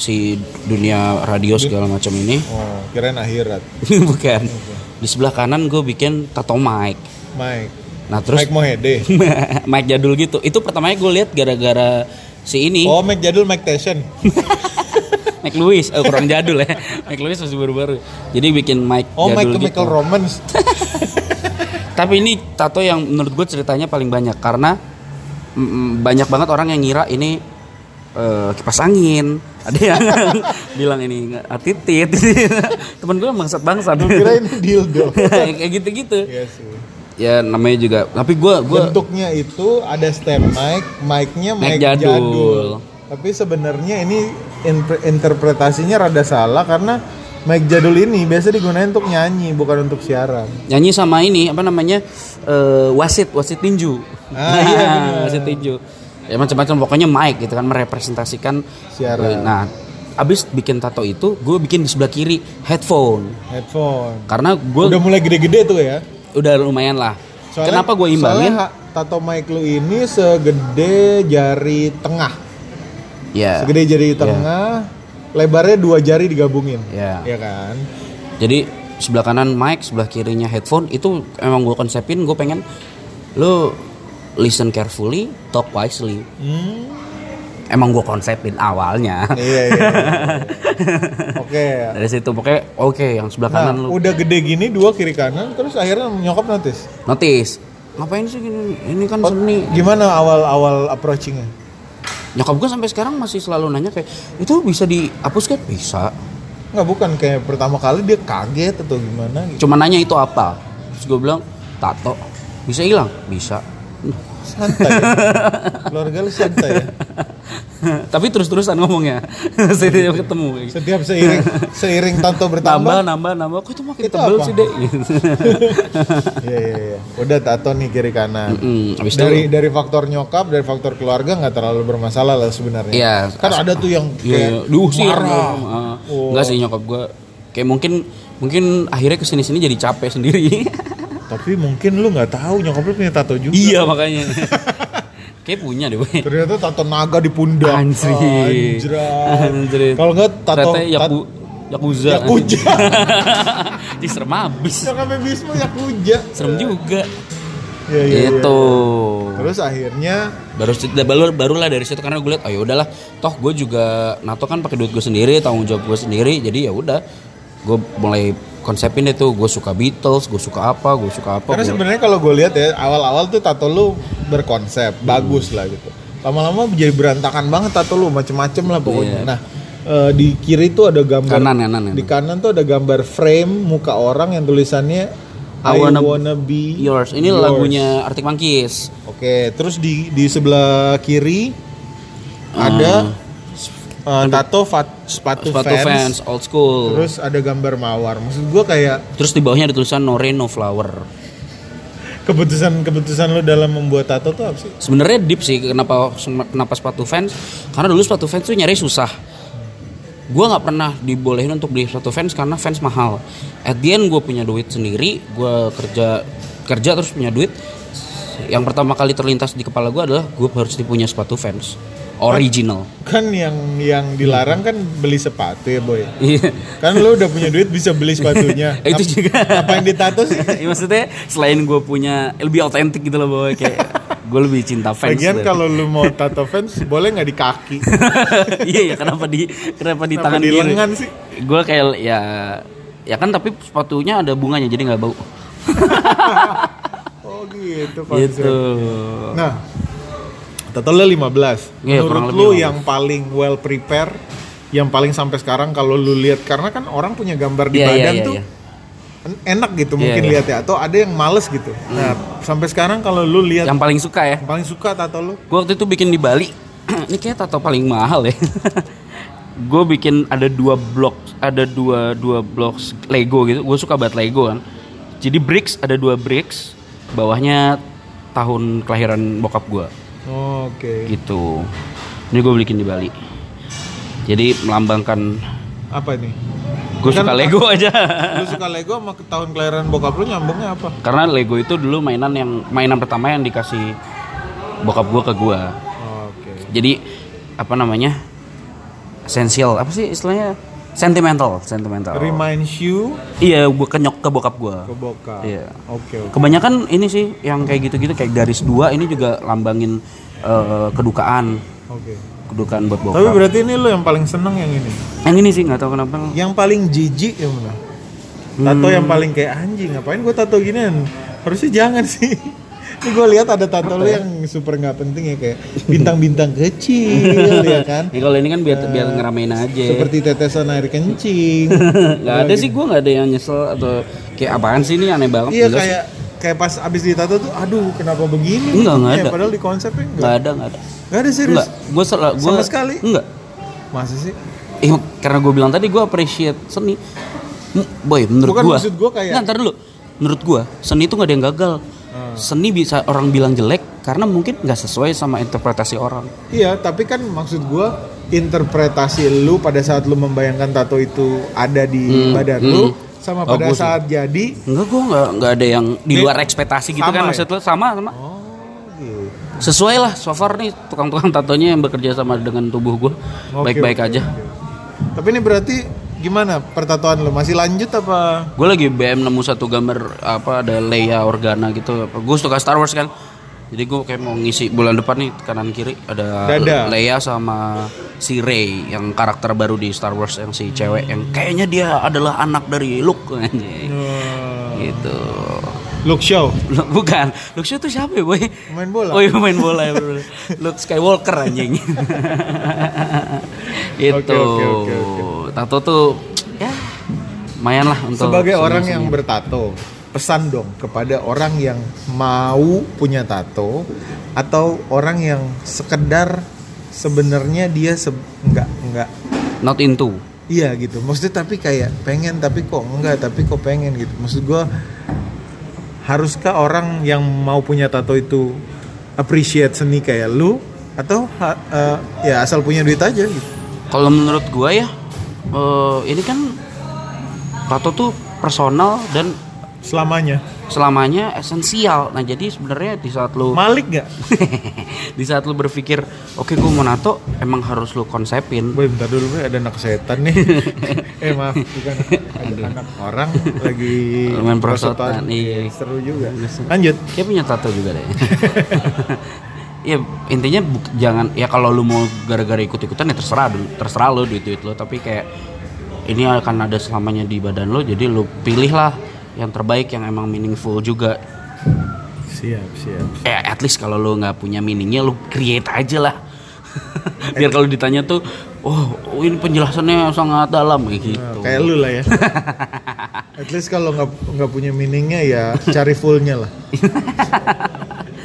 Speaker 1: si dunia radio segala macam ini
Speaker 2: Oh, kirain akhirat.
Speaker 1: bukan di sebelah kanan gue bikin tato mic
Speaker 2: Mike.
Speaker 1: nah terus
Speaker 2: Mike Mohede.
Speaker 1: mic jadul gitu itu pertamanya gue lihat gara-gara si ini
Speaker 2: Oh, Mike jadul Mike Tyson.
Speaker 1: Mike Lewis oh, kurang jadul ya Mike Lewis masih baru-baru jadi bikin mic
Speaker 2: Oh, Mike
Speaker 1: jadul gitu
Speaker 2: Chemical Romance.
Speaker 1: tapi ini tato yang menurut gue ceritanya paling banyak karena mm, mm, banyak banget orang yang ngira ini eh, kipas angin ada yang bilang ini nggak- ah, titit temen gue bangsat bangsat
Speaker 2: Lu kirain dildo.
Speaker 1: kayak gitu-gitu
Speaker 2: Iya sih.
Speaker 1: ya namanya juga tapi gue gue
Speaker 2: Bentuknya itu ada stand mic, mic-nya mic
Speaker 1: Mic
Speaker 2: jadul.
Speaker 1: jadul.
Speaker 2: Tapi sebenarnya ini in- interpretasinya rada salah karena mic jadul ini biasa digunain untuk nyanyi bukan untuk siaran.
Speaker 1: nyanyi sama ini apa namanya eh, wasit wasit tinju
Speaker 2: Ah, iya, benar.
Speaker 1: wasit tinju ya macam-macam pokoknya mic gitu kan merepresentasikan
Speaker 2: Siaran.
Speaker 1: nah abis bikin tato itu gue bikin di sebelah kiri headphone
Speaker 2: Headphone.
Speaker 1: karena gue udah,
Speaker 2: Udah mulai gede-gede tuh ya.
Speaker 1: lumayan lah
Speaker 2: Soalnya-
Speaker 1: kenapa gue imbangin
Speaker 2: soalnya ha- tato mic lu ini segede jari tengah.
Speaker 1: ya
Speaker 2: Segede jari tengah, lebarnya dua jari digabungin.
Speaker 1: Iya.
Speaker 2: Iya kan?
Speaker 1: jadi sebelah kanan mic sebelah kirinya headphone itu emang gue konsepin gue pengen lo listen carefully talk wisely
Speaker 2: Hmm.
Speaker 1: emang gue konsepin awalnya
Speaker 2: Iya, iya. iya. Oke.
Speaker 1: dari situ pokoknya oke yang sebelah
Speaker 2: Nah,
Speaker 1: kanan lu
Speaker 2: udah gede gini dua kiri kanan terus akhirnya nyokap notice.
Speaker 1: notice ngapain sih gini ini kan seni
Speaker 2: Gimana awal-awal approachingnya?
Speaker 1: nyokap gue sampai sekarang masih selalu nanya kayak itu bisa dihapus kan bisa
Speaker 2: Nggak bukan kayak pertama kali dia kaget atau gimana gitu.
Speaker 1: cuma nanya itu apa terus gue bilang tato bisa hilang bisa
Speaker 2: Santai. ya. Keluarga lu santai ya.
Speaker 1: tapi terus terusan ngomongnya setiap ketemu kayak gitu.
Speaker 2: Setiap seiring seiring tanto bertambah.
Speaker 1: nambah nambah nambah kok itu makin
Speaker 2: Itu
Speaker 1: tebel
Speaker 2: apa?
Speaker 1: sih dek gitu.
Speaker 2: Iya iya iya. Udah tato nih kiri kanan.
Speaker 1: Mm, abis itu
Speaker 2: Dari dari faktor nyokap, dari faktor keluarga nggak terlalu bermasalah lah sebenarnya.
Speaker 1: Iya.
Speaker 2: Kan ada tuh yang
Speaker 1: Iya, iya.
Speaker 2: kayak
Speaker 1: diusir.
Speaker 2: marah. Oh,
Speaker 1: Heeh. Ah. Enggak sih nyokap gue. Kayak mungkin mungkin akhirnya kesini sini jadi capek sendiri.
Speaker 2: Tapi mungkin lu nggak tahu nyokap lu punya tato juga.
Speaker 1: iya makanya. Kayak punya deh. Boy.
Speaker 2: Ternyata tato naga di pundak.
Speaker 1: Anjir.
Speaker 2: Anjray.
Speaker 1: Anjir.
Speaker 2: Kalau nggak tato
Speaker 1: Ternyata ya Yaku,
Speaker 2: tat-
Speaker 1: Yakuza.
Speaker 2: Yakuza.
Speaker 1: Jadi serem abis.
Speaker 2: Nyokapnya Bisma Yakuza.
Speaker 1: Serem juga.
Speaker 2: Iya iya. iya.
Speaker 1: Gitu.
Speaker 2: Terus akhirnya
Speaker 1: Baru baru barulah dari situ karena gue liat oh ya udahlah toh gue juga nato kan pakai duit gue sendiri tanggung jawab gue sendiri jadi ya udah gue mulai konsepin itu gue suka Beatles gue suka apa gue suka apa
Speaker 2: Karena
Speaker 1: gua-
Speaker 2: sebenarnya kalau gue lihat ya awal-awal tuh tato lu berkonsep bagus lah gitu. Lama-lama jadi berantakan banget tato lu macem-macem lah pokoknya. Nah eh, di kiri tuh ada gambar
Speaker 1: Iya. Kanan, kanan, kanan.
Speaker 2: di kanan tuh ada gambar frame muka orang yang tulisannya
Speaker 1: I
Speaker 2: I, wanna,
Speaker 1: wanna-
Speaker 2: be
Speaker 1: Yours. Ini
Speaker 2: yours.
Speaker 1: lagunya Arctic Monkeys.
Speaker 2: Oke, terus di di sebelah kiri ada eh, tato fat- sepatu,
Speaker 1: Ah. Sepatu
Speaker 2: fans,
Speaker 1: fans, old school. Terus,
Speaker 2: Terus ada gambar mawar. Maksud gue kayak
Speaker 1: di bawahnya ada tulisan No Rain No Flower.
Speaker 2: keputusan-keputusan lu dalam membuat tato tuh apa sih?
Speaker 1: Sebenarnya deep sih kenapa kenapa sepatu fans? Karena dulu sepatu fans tuh nyari susah. Gua nggak pernah dibolehin untuk beli sepatu fans karena fans mahal. At the end gue punya duit sendiri, gua kerja kerja terus punya duit. Yang pertama kali terlintas di kepala gua adalah gue harus punya sepatu fans original.
Speaker 2: kan yang yang dilarang kan beli sepatu ya boy
Speaker 1: Iya.
Speaker 2: kan lu udah punya duit bisa beli sepatunya
Speaker 1: Itu juga.
Speaker 2: apa yang ditato sih
Speaker 1: Iya, eh, Ya, maksudnya selain gue punya lebih autentik gitu loh bahwa kayak gue lebih cinta fans
Speaker 2: Lagian
Speaker 1: sebenarnya.
Speaker 2: kalau lu mau tato fans boleh nggak di kaki?
Speaker 1: iya ya kenapa di kenapa di
Speaker 2: Kenapa
Speaker 1: tangan
Speaker 2: di
Speaker 1: kiri?
Speaker 2: lengan sih?
Speaker 1: gue kayak ya ya kan tapi sepatunya ada bunganya jadi nggak bau
Speaker 2: Oh
Speaker 1: gitu
Speaker 2: gitu konsep. Nah, tato lu 15.
Speaker 1: Iya, kurang lebih
Speaker 2: Menurut lu
Speaker 1: 15.
Speaker 2: yang paling well prepare yang paling sampai sekarang kalau lu lihat karena kan orang punya gambar di
Speaker 1: Iya, iya,
Speaker 2: badan
Speaker 1: iya,
Speaker 2: tuh
Speaker 1: iya.
Speaker 2: en- enak gitu
Speaker 1: Iya,
Speaker 2: mungkin
Speaker 1: iya. Hmm.
Speaker 2: lihat ya atau ada yang males gitu. Nah, sampai sekarang kalau lu lihat
Speaker 1: yang paling suka ya
Speaker 2: yang paling suka tato lu
Speaker 1: gue waktu itu bikin di Bali ini kayak tato paling mahal ya gue bikin ada dua blok ada dua dua blok Lego gitu gue suka banget Lego kan jadi bricks ada dua bricks bawahnya tahun kelahiran bokap gue
Speaker 2: Oke.
Speaker 1: gitu ini gue bikin di Bali jadi melambangkan
Speaker 2: Apa ini?
Speaker 1: gue suka Lego aja
Speaker 2: Lu suka Lego sama ke- tahun kelahiran bokap lu nyambungnya apa?
Speaker 1: Karena Lego itu dulu mainan yang mainan pertama yang dikasih bokap gua ke gua.
Speaker 2: Oke.
Speaker 1: Jadi apa namanya? Esensial, apa sih istilahnya? Sentimental, sentimental.
Speaker 2: Reminds you
Speaker 1: Iya, gua kenyok ke bokap gua.
Speaker 2: ke bokap.
Speaker 1: Iya.
Speaker 2: Oke, oke.
Speaker 1: Kebanyakan ini sih yang kayak gitu-gitu kayak garis dua ini juga lambangin eh, kedukaan,
Speaker 2: Oke.
Speaker 1: kedukaan buat
Speaker 2: Tapi
Speaker 1: bokap.
Speaker 2: berarti ini lu yang paling seneng yang ini.
Speaker 1: Yang ini sih nggak tahu kenapa.
Speaker 2: Yang paling jijik yang mana? Tato yang
Speaker 1: Hmm.
Speaker 2: paling kayak anjing, ngapain gue tato ginian? Harusnya jangan sih. Ini gue lihat ada tato lu yang super nggak penting ya kayak bintang-bintang kecil ya kan.
Speaker 1: Ya, kalau ini kan biar biar ngeramein aja.
Speaker 2: Eh, Seperti tetesan air kencing.
Speaker 1: Nggak ada sih gua nggak ada yang nyesel atau kayak apaan sih ini aneh banget.
Speaker 2: iya
Speaker 1: Nggak sih.
Speaker 2: kayak kayak pas abis ditato tuh, aduh kenapa begini?
Speaker 1: Enggak, enggak
Speaker 2: bentuknya?
Speaker 1: ada.
Speaker 2: Padahal di konsepnya enggak.
Speaker 1: nggak ada nggak ada.
Speaker 2: Enggak ada serius.
Speaker 1: Enggak, gue salah gue
Speaker 2: Sama sekali? Oh.
Speaker 1: Enggak.
Speaker 2: Masa sih?
Speaker 1: Eh, karena gue bilang tadi gue appreciate seni. M- Boy, menurut
Speaker 2: Bukan
Speaker 1: gua.
Speaker 2: maksud gua kayak-
Speaker 1: Nggak, ntar dulu. Menurut gua, seni itu nggak ada yang gagal.
Speaker 2: Hmm.
Speaker 1: Seni bisa orang bilang jelek karena mungkin nggak sesuai sama interpretasi orang.
Speaker 2: Iya, tapi kan maksud gua interpretasi lu pada saat lu membayangkan tato itu ada
Speaker 1: Hmm,
Speaker 2: di badan lu sama
Speaker 1: Oh,
Speaker 2: pada
Speaker 1: gua sih.
Speaker 2: saat jadi.
Speaker 1: Enggak, gue nggak nggak ada yang di luar ekspektasi gitu
Speaker 2: sama
Speaker 1: kan
Speaker 2: ya?
Speaker 1: maksud lo sama sama.
Speaker 2: Oh, gitu.
Speaker 1: Sesuai lah, so far nih tukang-tukang tatonya yang bekerja sama dengan tubuh gue
Speaker 2: Oke,
Speaker 1: baik-baik
Speaker 2: oke,
Speaker 1: aja.
Speaker 2: oke. Tapi ini berarti gimana pertatoan lu? Masih lanjut apa?
Speaker 1: Gue lagi BM nemu satu gambar apa ada Leia Organa gitu. Gue suka Star Wars kan. Jadi gue kayak mau ngisi bulan depan nih kanan kiri ada
Speaker 2: Dada.
Speaker 1: Leia sama si Rey yang karakter baru di Star Wars yang si cewek yang kayaknya dia adalah anak dari Luke anjing.
Speaker 2: Eh,
Speaker 1: gitu.
Speaker 2: Look show.
Speaker 1: Lu- Bukan, Luke Shaw tuh siapa ya, Boy?
Speaker 2: Main bola.
Speaker 1: Oh iya main bola ya, bro. Luke Skywalker anjing. itu.
Speaker 2: Oke, oke, oke, oke.
Speaker 1: Tato tuh ya lumayan lah untuk
Speaker 2: Sebagai
Speaker 1: seni-
Speaker 2: orang
Speaker 1: seni.
Speaker 2: yang bertato, pesan dong kepada orang yang mau punya tato atau orang yang sekedar sebenarnya dia se- nggak nggak
Speaker 1: not into
Speaker 2: Iya gitu, maksudnya tapi kayak pengen tapi kok enggak, tapi kok pengen gitu. Maksud gua haruskah orang yang mau punya tato itu appreciate seni kayak lu atau ha- eh, ya asal punya duit aja gitu.
Speaker 1: kalau menurut gua ya eh, ini kan tato tuh personal dan
Speaker 2: Selamanya.
Speaker 1: selamanya esensial nah jadi sebenarnya di saat lu
Speaker 2: Malik nggak?
Speaker 1: di saat lu berpikir oke gua mau nato emang harus lu konsepin
Speaker 2: Boy bentar dulu, Boy, ada anak setan nih. eh maaf, bukan ada anak orang lagi
Speaker 1: Main prosotan, iya.
Speaker 2: Seru juga. Lanjut.
Speaker 1: dia punya tato juga deh ya intinya buk- jangan ya kalau lu mau gara-gara ikut-ikutan ya terserah dulu terserah lu duit-duit lu tapi kayak ini akan ada selamanya di badan lu jadi lu pilihlah yang terbaik yang emang meaningful juga
Speaker 2: Siap, siap.
Speaker 1: eh at least kalau lo nggak punya meaningnya lo create aja lah biar kalau ditanya tuh oh oh, ini penjelasannya sangat dalam kayak gitu
Speaker 2: Kayak lu lah ya. At least kalau nggak nggak punya meaningnya ya cari fullnya lah.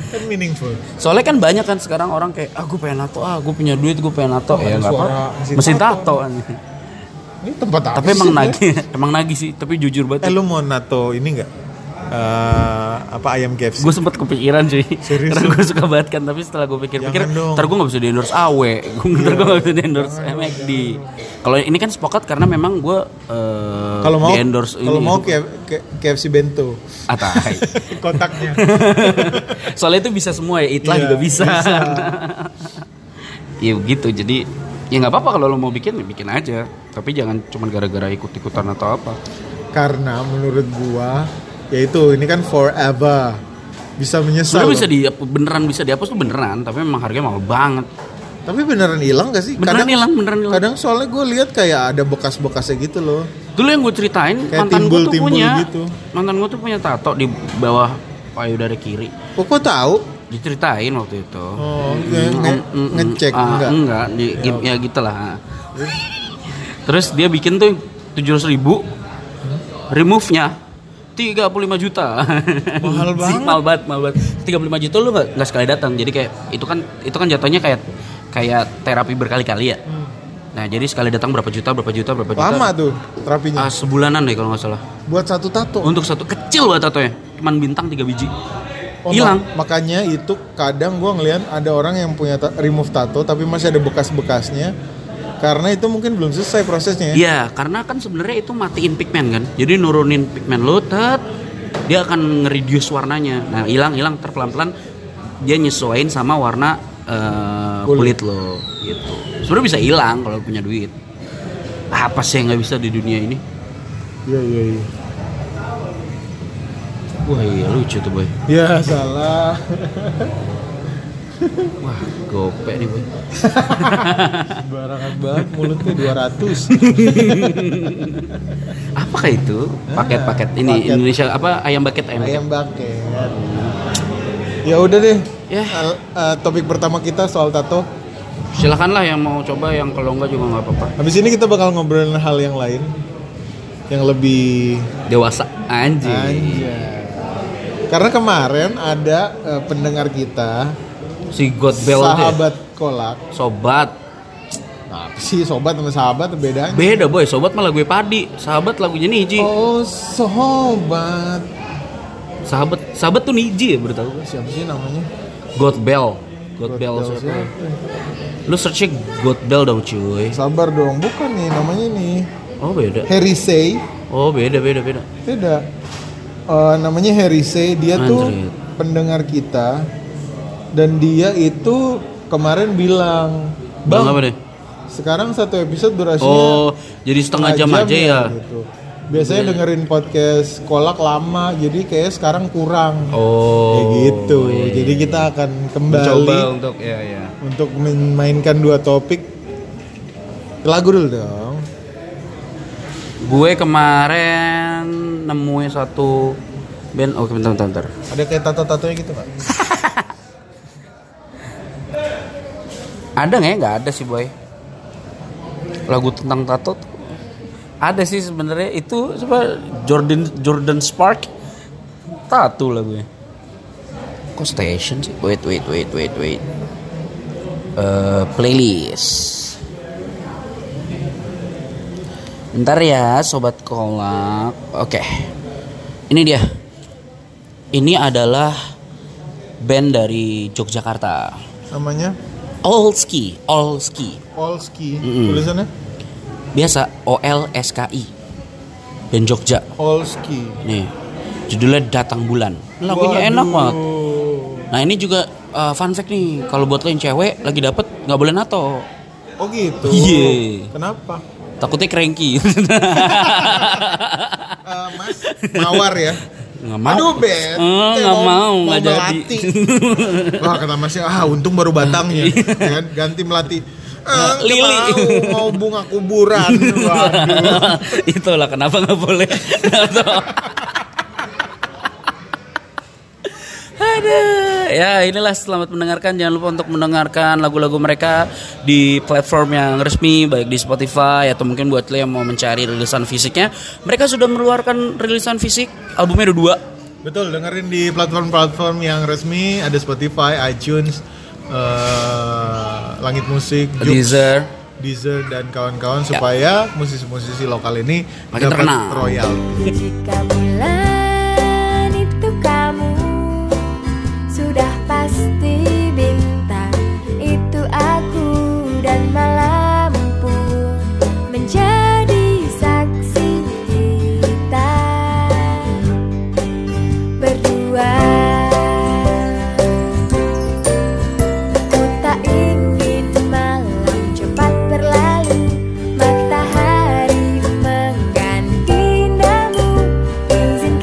Speaker 2: kan meaningful.
Speaker 1: soalnya kan banyak kan sekarang orang kayak ah gue pengen nato ah gue punya duit gue pengen nato ya
Speaker 2: ada
Speaker 1: nggak
Speaker 2: suara
Speaker 1: apa
Speaker 2: Iya, mesin
Speaker 1: mesin
Speaker 2: tato.
Speaker 1: tato anjing.
Speaker 2: Ini tempat apa
Speaker 1: tapi
Speaker 2: sih,
Speaker 1: emang
Speaker 2: Boy?
Speaker 1: nagih emang nagih sih tapi jujur
Speaker 2: Eh
Speaker 1: banget
Speaker 2: lu mau nato ini nggak? Eh, apa ayam KFC?
Speaker 1: gue sempet kepikiran cuy
Speaker 2: Serius
Speaker 1: karena gue suka banget kan tapi setelah gue pikir-pikir
Speaker 2: Jangan dong.
Speaker 1: ntar gue nggak bisa di endorse awe ntar gue nggak bisa di endorse MXD kalau ini kan sepakat karena memang gue eh,
Speaker 2: Kalau mau
Speaker 1: di endorse
Speaker 2: kalau
Speaker 1: ini.
Speaker 2: mau K- K- KFC bento
Speaker 1: Ah, tai.
Speaker 2: kotaknya.
Speaker 1: Soalnya itu bisa semua ya, itlah
Speaker 2: Iya,
Speaker 1: juga bisa. ya begitu, jadi ya nggak apa-apa kalau lo mau bikin, ya bikin aja. Tapi jangan cuma gara-gara ikut-ikutan atau apa.
Speaker 2: Karena menurut gua yaitu ini kan forever. bisa menyesal.
Speaker 1: Sebenarnya bisa
Speaker 2: loh.
Speaker 1: di beneran bisa dihapus tuh beneran, tapi memang harganya mahal banget.
Speaker 2: Tapi beneran hilang gak sih?
Speaker 1: Beneran
Speaker 2: Kadang-
Speaker 1: hilang, beneran hilang.
Speaker 2: Kadang soalnya gue lihat kayak ada bekas-bekasnya gitu loh.
Speaker 1: Dulu yang gue ceritain
Speaker 2: Kayak
Speaker 1: mantan gue tuh
Speaker 2: timbul-timbul
Speaker 1: punya
Speaker 2: gitu.
Speaker 1: mantan gue tuh punya tato di bawah payudara kiri.
Speaker 2: Kok kok tahu?
Speaker 1: Diceritain waktu itu.
Speaker 2: Oh, nge-
Speaker 1: Mm,
Speaker 2: nge-
Speaker 1: mm, mm,
Speaker 2: ngecek
Speaker 1: ah,
Speaker 2: enggak? Iya.
Speaker 1: Enggak, di, ya, gitu lah. Terus dia bikin tuh 700 ribu remove-nya 35 juta.
Speaker 2: Mahal
Speaker 1: Sih, mahal banget, mahal banget. 35 juta lu nggak nggak sekali datang. Jadi kayak itu kan itu kan jatuhnya kayak kayak terapi berkali-kali ya. Nah, jadi sekali datang berapa juta, berapa juta, berapa juta.
Speaker 2: Hmm. Lama tuh
Speaker 1: Ah,
Speaker 2: terapinya.
Speaker 1: Hmm, sebulanan deh kalau nggak salah.
Speaker 2: Buat satu tato.
Speaker 1: Untuk satu kecil banget tatonya, cuman bintang 3 biji.
Speaker 2: Oh,
Speaker 1: Hilang.
Speaker 2: mak- makanya itu kadang gue ngelihat ada orang yang punya ta- remove tato tapi masih ada bekas-bekasnya karena itu mungkin belum selesai prosesnya. ya.
Speaker 1: Iya, karena kan sebenarnya itu matiin pigmen kan. Jadi nurunin pigmen lo, tet, dia akan nge-reduce warnanya. Nah, hilang-hilang terpelan-pelan dia nyesuaiin sama warna eh,
Speaker 2: Kulit.
Speaker 1: kulit lo gitu. Sebenarnya bisa hilang kalau punya duit. Apa sih yang nggak bisa di dunia ini?
Speaker 2: Iya iya iya.
Speaker 1: Wah, iya lucu tuh boy.
Speaker 2: Ya salah.
Speaker 1: Wah, gopek nih boy.
Speaker 2: Sembarangan banget mulutnya 200.
Speaker 1: Apa kayak itu? Paket-paket ini
Speaker 2: Ah, paket.
Speaker 1: Indonesia apa ayam bucket ayam. bucket.
Speaker 2: Ayam baket. Ya udah deh.
Speaker 1: Ya.
Speaker 2: Al- eh, topik pertama kita soal tato.
Speaker 1: Silakanlah yang mau coba yang kalau nggak juga nggak apa-apa.
Speaker 2: Habis ini kita bakal ngobrolin hal yang lain yang lebih
Speaker 1: Dewasa anjing.
Speaker 2: Anjay. Karena kemarin ada eh, pendengar kita
Speaker 1: Si God Bell tuh ya.
Speaker 2: sahabat kolak.
Speaker 1: Sobat
Speaker 2: Nah, sih sobat sama sahabat bedanya.
Speaker 1: Beda boy, sobat malah gue padi. Sahabat lagunya Niji.
Speaker 2: Oh, sobat.
Speaker 1: Sahabat sahabat tuh Niji ya beritahu gue.
Speaker 2: Siapa sih namanya?
Speaker 1: God Bell. God, Bell.
Speaker 2: Godel
Speaker 1: siapa?
Speaker 2: siapa?
Speaker 1: Lu searching God Bell dong cuy.
Speaker 2: Sabar dong, bukan nih namanya nih.
Speaker 1: Oh beda.
Speaker 2: Harry Say.
Speaker 1: Oh beda beda beda.
Speaker 2: Tidak. Eh, namanya Harry Say, dia tuh
Speaker 1: Anjrit.
Speaker 2: pendengar kita dan dia itu kemarin bilang,
Speaker 1: Bang apa
Speaker 2: "Bang,
Speaker 1: deh?
Speaker 2: sekarang satu episode durasinya
Speaker 1: Oh jadi setengah jam aja ya. Iya.
Speaker 2: gitu. Biasanya dengerin podcast kolak lama, jadi kayak sekarang kurang. Kayak
Speaker 1: Oh.
Speaker 2: gitu.
Speaker 1: iya, iya.
Speaker 2: Jadi kita akan kembali
Speaker 1: Mencoba untuk ya ya.
Speaker 2: untuk memainkan dua topik. Lagu dulu dong.
Speaker 1: Gue kemarin nemuin satu band. Oke bentar bentar. bentar.
Speaker 2: Ada kayak tato-tatonya gitu nggak?
Speaker 1: Ada nggak ya? Nggak ada sih boy. Lagu tentang tato tuh. ada sih sebenarnya itu coba Jordan Jordan Spark tato lagunya. Kok station sih? Wait wait wait wait wait. Eh, playlist. Ntar ya sobat kolak. Oke. Ini dia. Ini adalah band dari Yogyakarta.
Speaker 2: Namanya
Speaker 1: All Ski, All Ski.
Speaker 2: Olski.
Speaker 1: Mm-mm.
Speaker 2: Tulisannya
Speaker 1: Biasa O L S K I. Band Jogja.
Speaker 2: Olski.
Speaker 1: Nih. Judulnya Datang Bulan. Lagunya enak banget. Nah, ini juga uh, fun fact nih. Kalau buat lo yang cewek lagi dapet nggak boleh nato.
Speaker 2: Oh gitu.
Speaker 1: Iya.
Speaker 2: Kenapa?
Speaker 1: Takutnya cranky.
Speaker 2: Eh, mas, mawar ya.
Speaker 1: Nggak mau.
Speaker 2: Aduh,
Speaker 1: Eh,
Speaker 2: Ben. Saya
Speaker 1: nggak
Speaker 2: mau-
Speaker 1: mau,
Speaker 2: mau
Speaker 1: nggak jadi.
Speaker 2: melatih. Wah kata masnya ah untung baru batangnya Ya kan? ganti melati Eh,
Speaker 1: Iya. Lili.
Speaker 2: mau, mau bunga kuburan Waduh.
Speaker 1: Itulah kenapa nggak boleh nato. Ada. Ya inilah selamat mendengarkan. Jangan lupa untuk mendengarkan lagu-lagu mereka di platform yang resmi, baik di Spotify atau mungkin buat lo yang mau mencari rilisan fisiknya. Mereka sudah mengeluarkan rilisan fisik albumnya ada dua.
Speaker 2: betul dengerin di platform-platform yang resmi ada Spotify iTunes eh, Langit Musik Joox,
Speaker 1: Deezer. Ya.
Speaker 2: Deezer dan kawan-kawan supaya musisi-musisi lokal ini
Speaker 1: Makin
Speaker 2: dapat
Speaker 1: terkenal.
Speaker 2: royal
Speaker 3: Jika bulan itu kamu Sudah pasti bintang Itu aku dan malam pun Menjadi saksi kita Berdua Ku tak ingin malam cepat berlalu Matahari mengganti namu Izin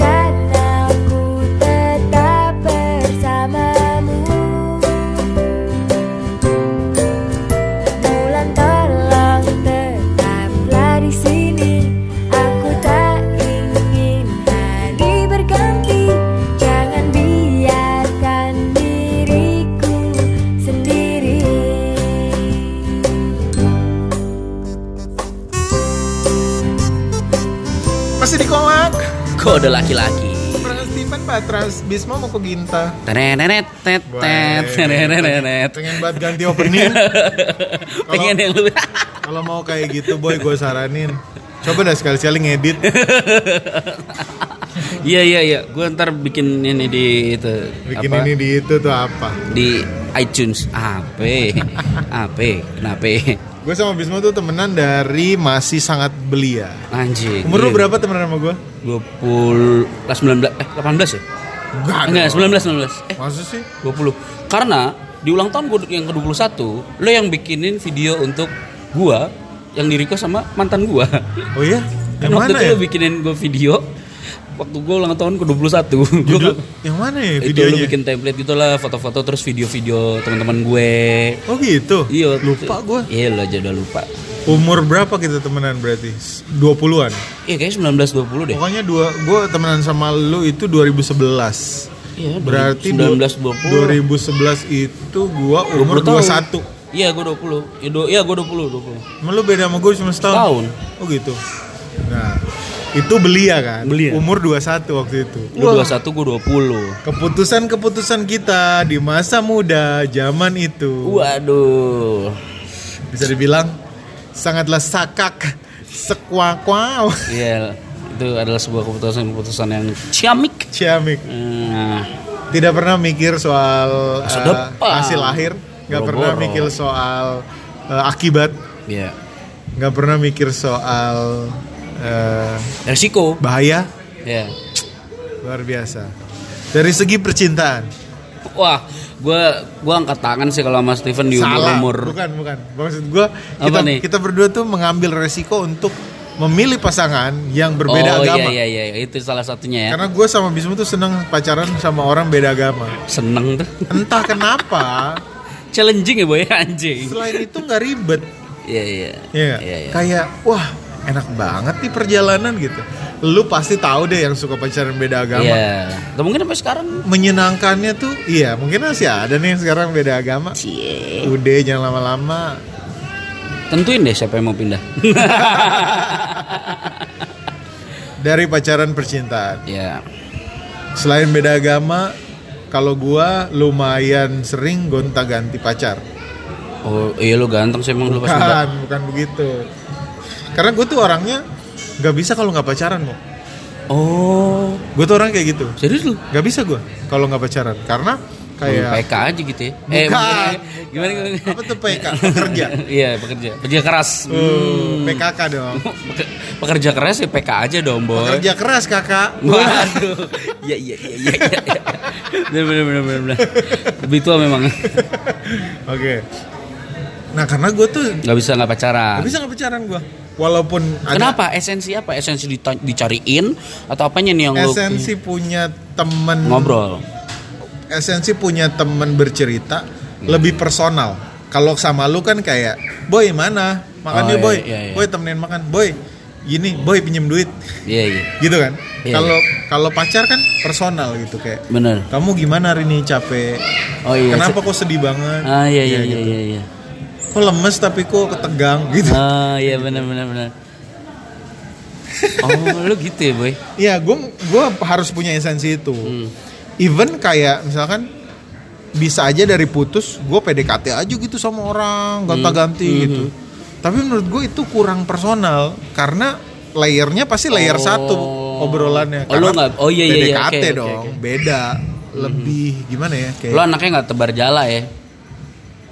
Speaker 1: kode laki-laki.
Speaker 2: Peran Steven Patras, Bisma mau ke Ginta.
Speaker 1: Teneret, tet, tet,
Speaker 2: Baik.
Speaker 1: teneret.
Speaker 2: Pengen banget ganti opening.
Speaker 1: Pengen yang lebih.
Speaker 2: Kalau mau kayak gitu, boy, gue saranin. Coba dah sekali-sekali ngedit.
Speaker 1: Iya iya iya, gue ntar bikin ini di itu
Speaker 2: Bikin
Speaker 1: apa?
Speaker 2: ini di itu tuh apa?
Speaker 1: di iTunes. AP, AP, kenapa?
Speaker 2: Gue sama Bisma tuh temenan dari masih sangat belia.
Speaker 1: Anjing.
Speaker 2: Umur lu
Speaker 1: gila.
Speaker 2: berapa temenan sama gue?
Speaker 1: 20 kelas 19 eh 18 ya?
Speaker 2: Enggak.
Speaker 1: Enggak,
Speaker 2: dong.
Speaker 1: 19 19. Eh,
Speaker 2: Maksud sih?
Speaker 1: 20. Karena di ulang tahun gue yang ke-21, lo yang bikinin video untuk gua yang di request sama mantan gua.
Speaker 2: Oh iya?
Speaker 1: Kan
Speaker 2: Yang
Speaker 1: waktu
Speaker 2: mana
Speaker 1: itu
Speaker 2: ya?
Speaker 1: lo bikinin gue video waktu gue ulang tahun ke-21. Gua
Speaker 2: Judul- yang mana ya
Speaker 1: itu lo
Speaker 2: videonya?
Speaker 1: bikin template gitu lah, foto-foto terus video-video teman-teman gue.
Speaker 2: Oh gitu?
Speaker 1: Iya, waktu
Speaker 2: Lupa
Speaker 1: itu.
Speaker 2: gue.
Speaker 1: Iya, lo aja udah lupa.
Speaker 2: Umur berapa kita temenan berarti? 20-an?
Speaker 1: Iya, kayaknya 19 20 deh.
Speaker 2: Pokoknya dua, gue temenan sama lu itu 2011
Speaker 1: Iya,
Speaker 2: Berarti
Speaker 1: 19 20.
Speaker 2: 2011 itu gua
Speaker 1: 20
Speaker 2: umur
Speaker 1: tahun.
Speaker 2: 21
Speaker 1: Iya, gue 20. Iya, do- Iya, gue 20, 20.
Speaker 2: Emang lu beda sama gue cuma
Speaker 1: Tahun.
Speaker 2: setahun? Oh gitu Nah itu belia kan?
Speaker 1: Belia.
Speaker 2: Umur 21 waktu itu
Speaker 1: Lu
Speaker 2: Wah,
Speaker 1: 21, gue 20.
Speaker 2: Keputusan-keputusan kita di masa muda zaman itu
Speaker 1: Waduh.
Speaker 2: Bisa dibilang sangatlah sakak Sekuak-kuak
Speaker 1: Iya, itu adalah sebuah keputusan-keputusan yang ciamik.
Speaker 2: Ciamik
Speaker 1: Nah,
Speaker 2: Tidak pernah mikir soal
Speaker 1: Masa
Speaker 2: eh,
Speaker 1: depan.
Speaker 2: hasil akhir Gak pernah
Speaker 1: Boro-boro.
Speaker 2: mikir soal eh, akibat
Speaker 1: ya.
Speaker 2: nggak pernah mikir soal eh,
Speaker 1: Resiko.
Speaker 2: bahaya
Speaker 1: Ya.
Speaker 2: luar biasa dari segi percintaan
Speaker 1: Wah, gua gua angkat tangan sih kalau Mas Steven di
Speaker 2: salah
Speaker 1: umur-umur.
Speaker 2: bukan bukan maksud gua
Speaker 1: Apa
Speaker 2: kita
Speaker 1: nih?
Speaker 2: kita berdua tuh mengambil resiko untuk memilih pasangan yang berbeda
Speaker 1: oh,
Speaker 2: agama
Speaker 1: iya iya iya, itu salah satunya ya.
Speaker 2: karena gue sama Bismu tuh seneng pacaran sama orang beda agama
Speaker 1: Seneng tuh.
Speaker 2: entah kenapa
Speaker 1: Challenging ya boy anjing.
Speaker 2: selain itu nggak ribet
Speaker 1: Iya iya.
Speaker 2: Iya,
Speaker 1: Iya iya.
Speaker 2: kayak wah enak banget nih perjalanan gitu lu pasti tahu deh yang suka pacaran beda agama
Speaker 1: Iya. Atau mungkin sampai sekarang.
Speaker 2: menyenangkannya tuh iya mungkin masih ada nih yang sekarang beda agama
Speaker 1: Cie.
Speaker 2: udah jangan lama-lama
Speaker 1: Tentuin deh siapa yang mau pindah.
Speaker 2: dari pacaran percintaan
Speaker 1: Iya.
Speaker 2: selain beda agama kalau gua lumayan sering gonta ganti pacar
Speaker 1: Oh, iya lu ganteng sih emang lu pas muda.
Speaker 2: kan bukan begitu karena gue tuh orangnya nggak bisa kalau nggak pacaran mau
Speaker 1: Oh,
Speaker 2: gue tuh orang kayak gitu
Speaker 1: serius lu?
Speaker 2: nggak bisa gua kalau nggak pacaran karena
Speaker 1: Kayak
Speaker 2: kayak
Speaker 1: PK aja gitu ya. Eh,
Speaker 2: Iya. Bukan.
Speaker 1: bukan. gimana gimana?
Speaker 2: apa tuh PK pekerja
Speaker 1: Iya, pekerja. Pekerja keras. Hmm.
Speaker 2: Uh, PKK dong
Speaker 1: Peke- Pekerja keras ya PK aja dong, boy.
Speaker 2: kerja keras kakak
Speaker 1: Waduh. Iya, iya, iya, iya. iya, iya. Bener, bener, bener, bener, bener. Lebih tua memang.
Speaker 2: Oke. Nah karena gue tuh
Speaker 1: Gak bisa nggak pacaran.
Speaker 2: gak bisa nggak pacaran gue. Walaupun ada
Speaker 1: Kenapa? Esensi apa? Esensi dita- dicariin atau apanya nih yang lu
Speaker 2: esensi punya temen
Speaker 1: ngobrol?
Speaker 2: esensi punya temen bercerita lebih personal. Kalau sama lu kan kayak, boy mana? Makan
Speaker 1: Oh,
Speaker 2: yuk
Speaker 1: iya,
Speaker 2: boy,
Speaker 1: iya, iya.
Speaker 2: boy temenin makan, boy. Gini, boy pinjem duit,
Speaker 1: Iya, iya.
Speaker 2: gitu kan?
Speaker 1: Iya,
Speaker 2: Kalau kalau pacar kan personal gitu kayak,
Speaker 1: Bener.
Speaker 2: kamu gimana hari ini capek?
Speaker 1: Oh iya.
Speaker 2: Kenapa kok sedih banget?
Speaker 1: Ah, iya, iya, iya,
Speaker 2: Ya, gitu.
Speaker 1: iya, iya.
Speaker 2: Kok lemes tapi kok ketegang gitu?
Speaker 1: Ah, iya benar benar benar. Oh, lu gitu ya, boy.
Speaker 2: Iya, gue gua harus punya esensi itu.
Speaker 1: Hmm.
Speaker 2: Even kayak misalkan bisa aja dari putus, gue PDKT aja gitu sama
Speaker 1: Hmm.
Speaker 2: orang, gonta-ganti gitu. Tapi menurut gue itu kurang personal karena layernya pasti layer
Speaker 1: Oh.
Speaker 2: satu obrolannya.
Speaker 1: Oh, lu
Speaker 2: Karena
Speaker 1: nggak- oh, iya, iya, iya,
Speaker 2: PDKT
Speaker 1: oke, oke,
Speaker 2: dong,
Speaker 1: oke. Hmm.
Speaker 2: beda, lebih gimana ya kayak
Speaker 1: Lu anaknya nggak tebar jala ya.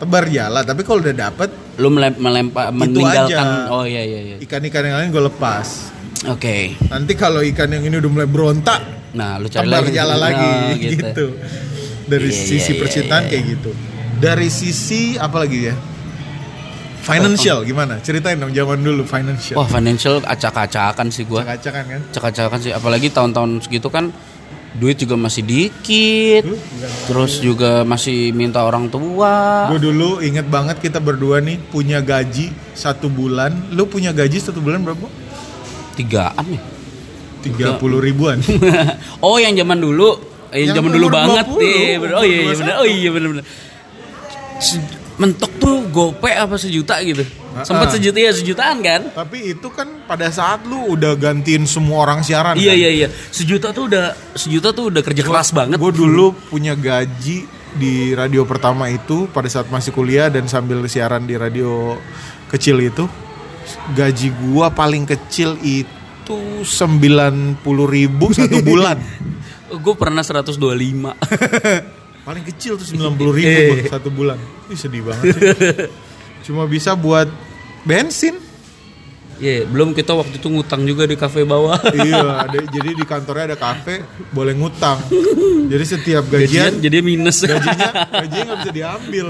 Speaker 2: tebar jala. Tapi kalau udah dapet
Speaker 1: Lu melem- melempa meninggalkan.
Speaker 2: aja.
Speaker 1: Oh iya iya iya.
Speaker 2: ikan-ikan yang lain gue lepas.
Speaker 1: Oke.
Speaker 2: Nanti kalau ikan yang ini udah mulai berontak,
Speaker 1: Nah, lu cari
Speaker 2: tebar
Speaker 1: lagi.
Speaker 2: jala
Speaker 1: Oh,
Speaker 2: lagi gitu.
Speaker 1: gitu.
Speaker 2: Dari
Speaker 1: Iya,
Speaker 2: sisi
Speaker 1: iya,
Speaker 2: percintaan
Speaker 1: iya,
Speaker 2: kayak gitu. Dari sisi apa lagi ya? Financial gimana? Ceritain dong zaman dulu financial.
Speaker 1: Wah, financial acak-acakan sih gua.
Speaker 2: Acak-acakan kan?
Speaker 1: Acak-acakan sih apalagi tahun-tahun segitu kan duit juga masih dikit.
Speaker 2: Dulu bukan.
Speaker 1: Terus juga masih minta orang tua.
Speaker 2: Gue dulu inget banget kita berdua nih punya gaji satu bulan. Lu punya gaji satu bulan berapa?
Speaker 1: Tigaan ya.
Speaker 2: Tiga puluh ribuan.
Speaker 1: oh yang zaman dulu eh, yang
Speaker 2: Yang
Speaker 1: zaman dulu
Speaker 2: umur
Speaker 1: banget
Speaker 2: 20,
Speaker 1: iya, bener. oh iya
Speaker 2: umur
Speaker 1: bener oh iya bener bener Se- mentok tuh gope apa sejuta gitu.
Speaker 2: Ah, ah.
Speaker 1: Sempat sejuta ya sejutaan kan?
Speaker 2: Tapi itu kan pada saat lu udah gantiin semua orang siaran. kan?
Speaker 1: Iya iya iya. Sejuta tuh udah sejuta tuh udah kerja keras banget.
Speaker 2: Gue dulu punya gaji di radio pertama itu pada saat masih kuliah dan sambil siaran di radio kecil itu gaji gua paling kecil itu 90.000 ribu satu bulan
Speaker 1: Gue pernah 125.
Speaker 2: paling kecil tuh 90.000 ribu
Speaker 1: Eh.
Speaker 2: satu bulan Ih, sedih banget sih. cuma bisa buat bensin
Speaker 1: Iya, belum kita waktu itu ngutang juga di kafe bawah.
Speaker 2: iya ada, jadi di kantornya ada kafe boleh ngutang jadi setiap gajian
Speaker 1: Gajian jadi minus.
Speaker 2: gajinya gajinya nggak bisa diambil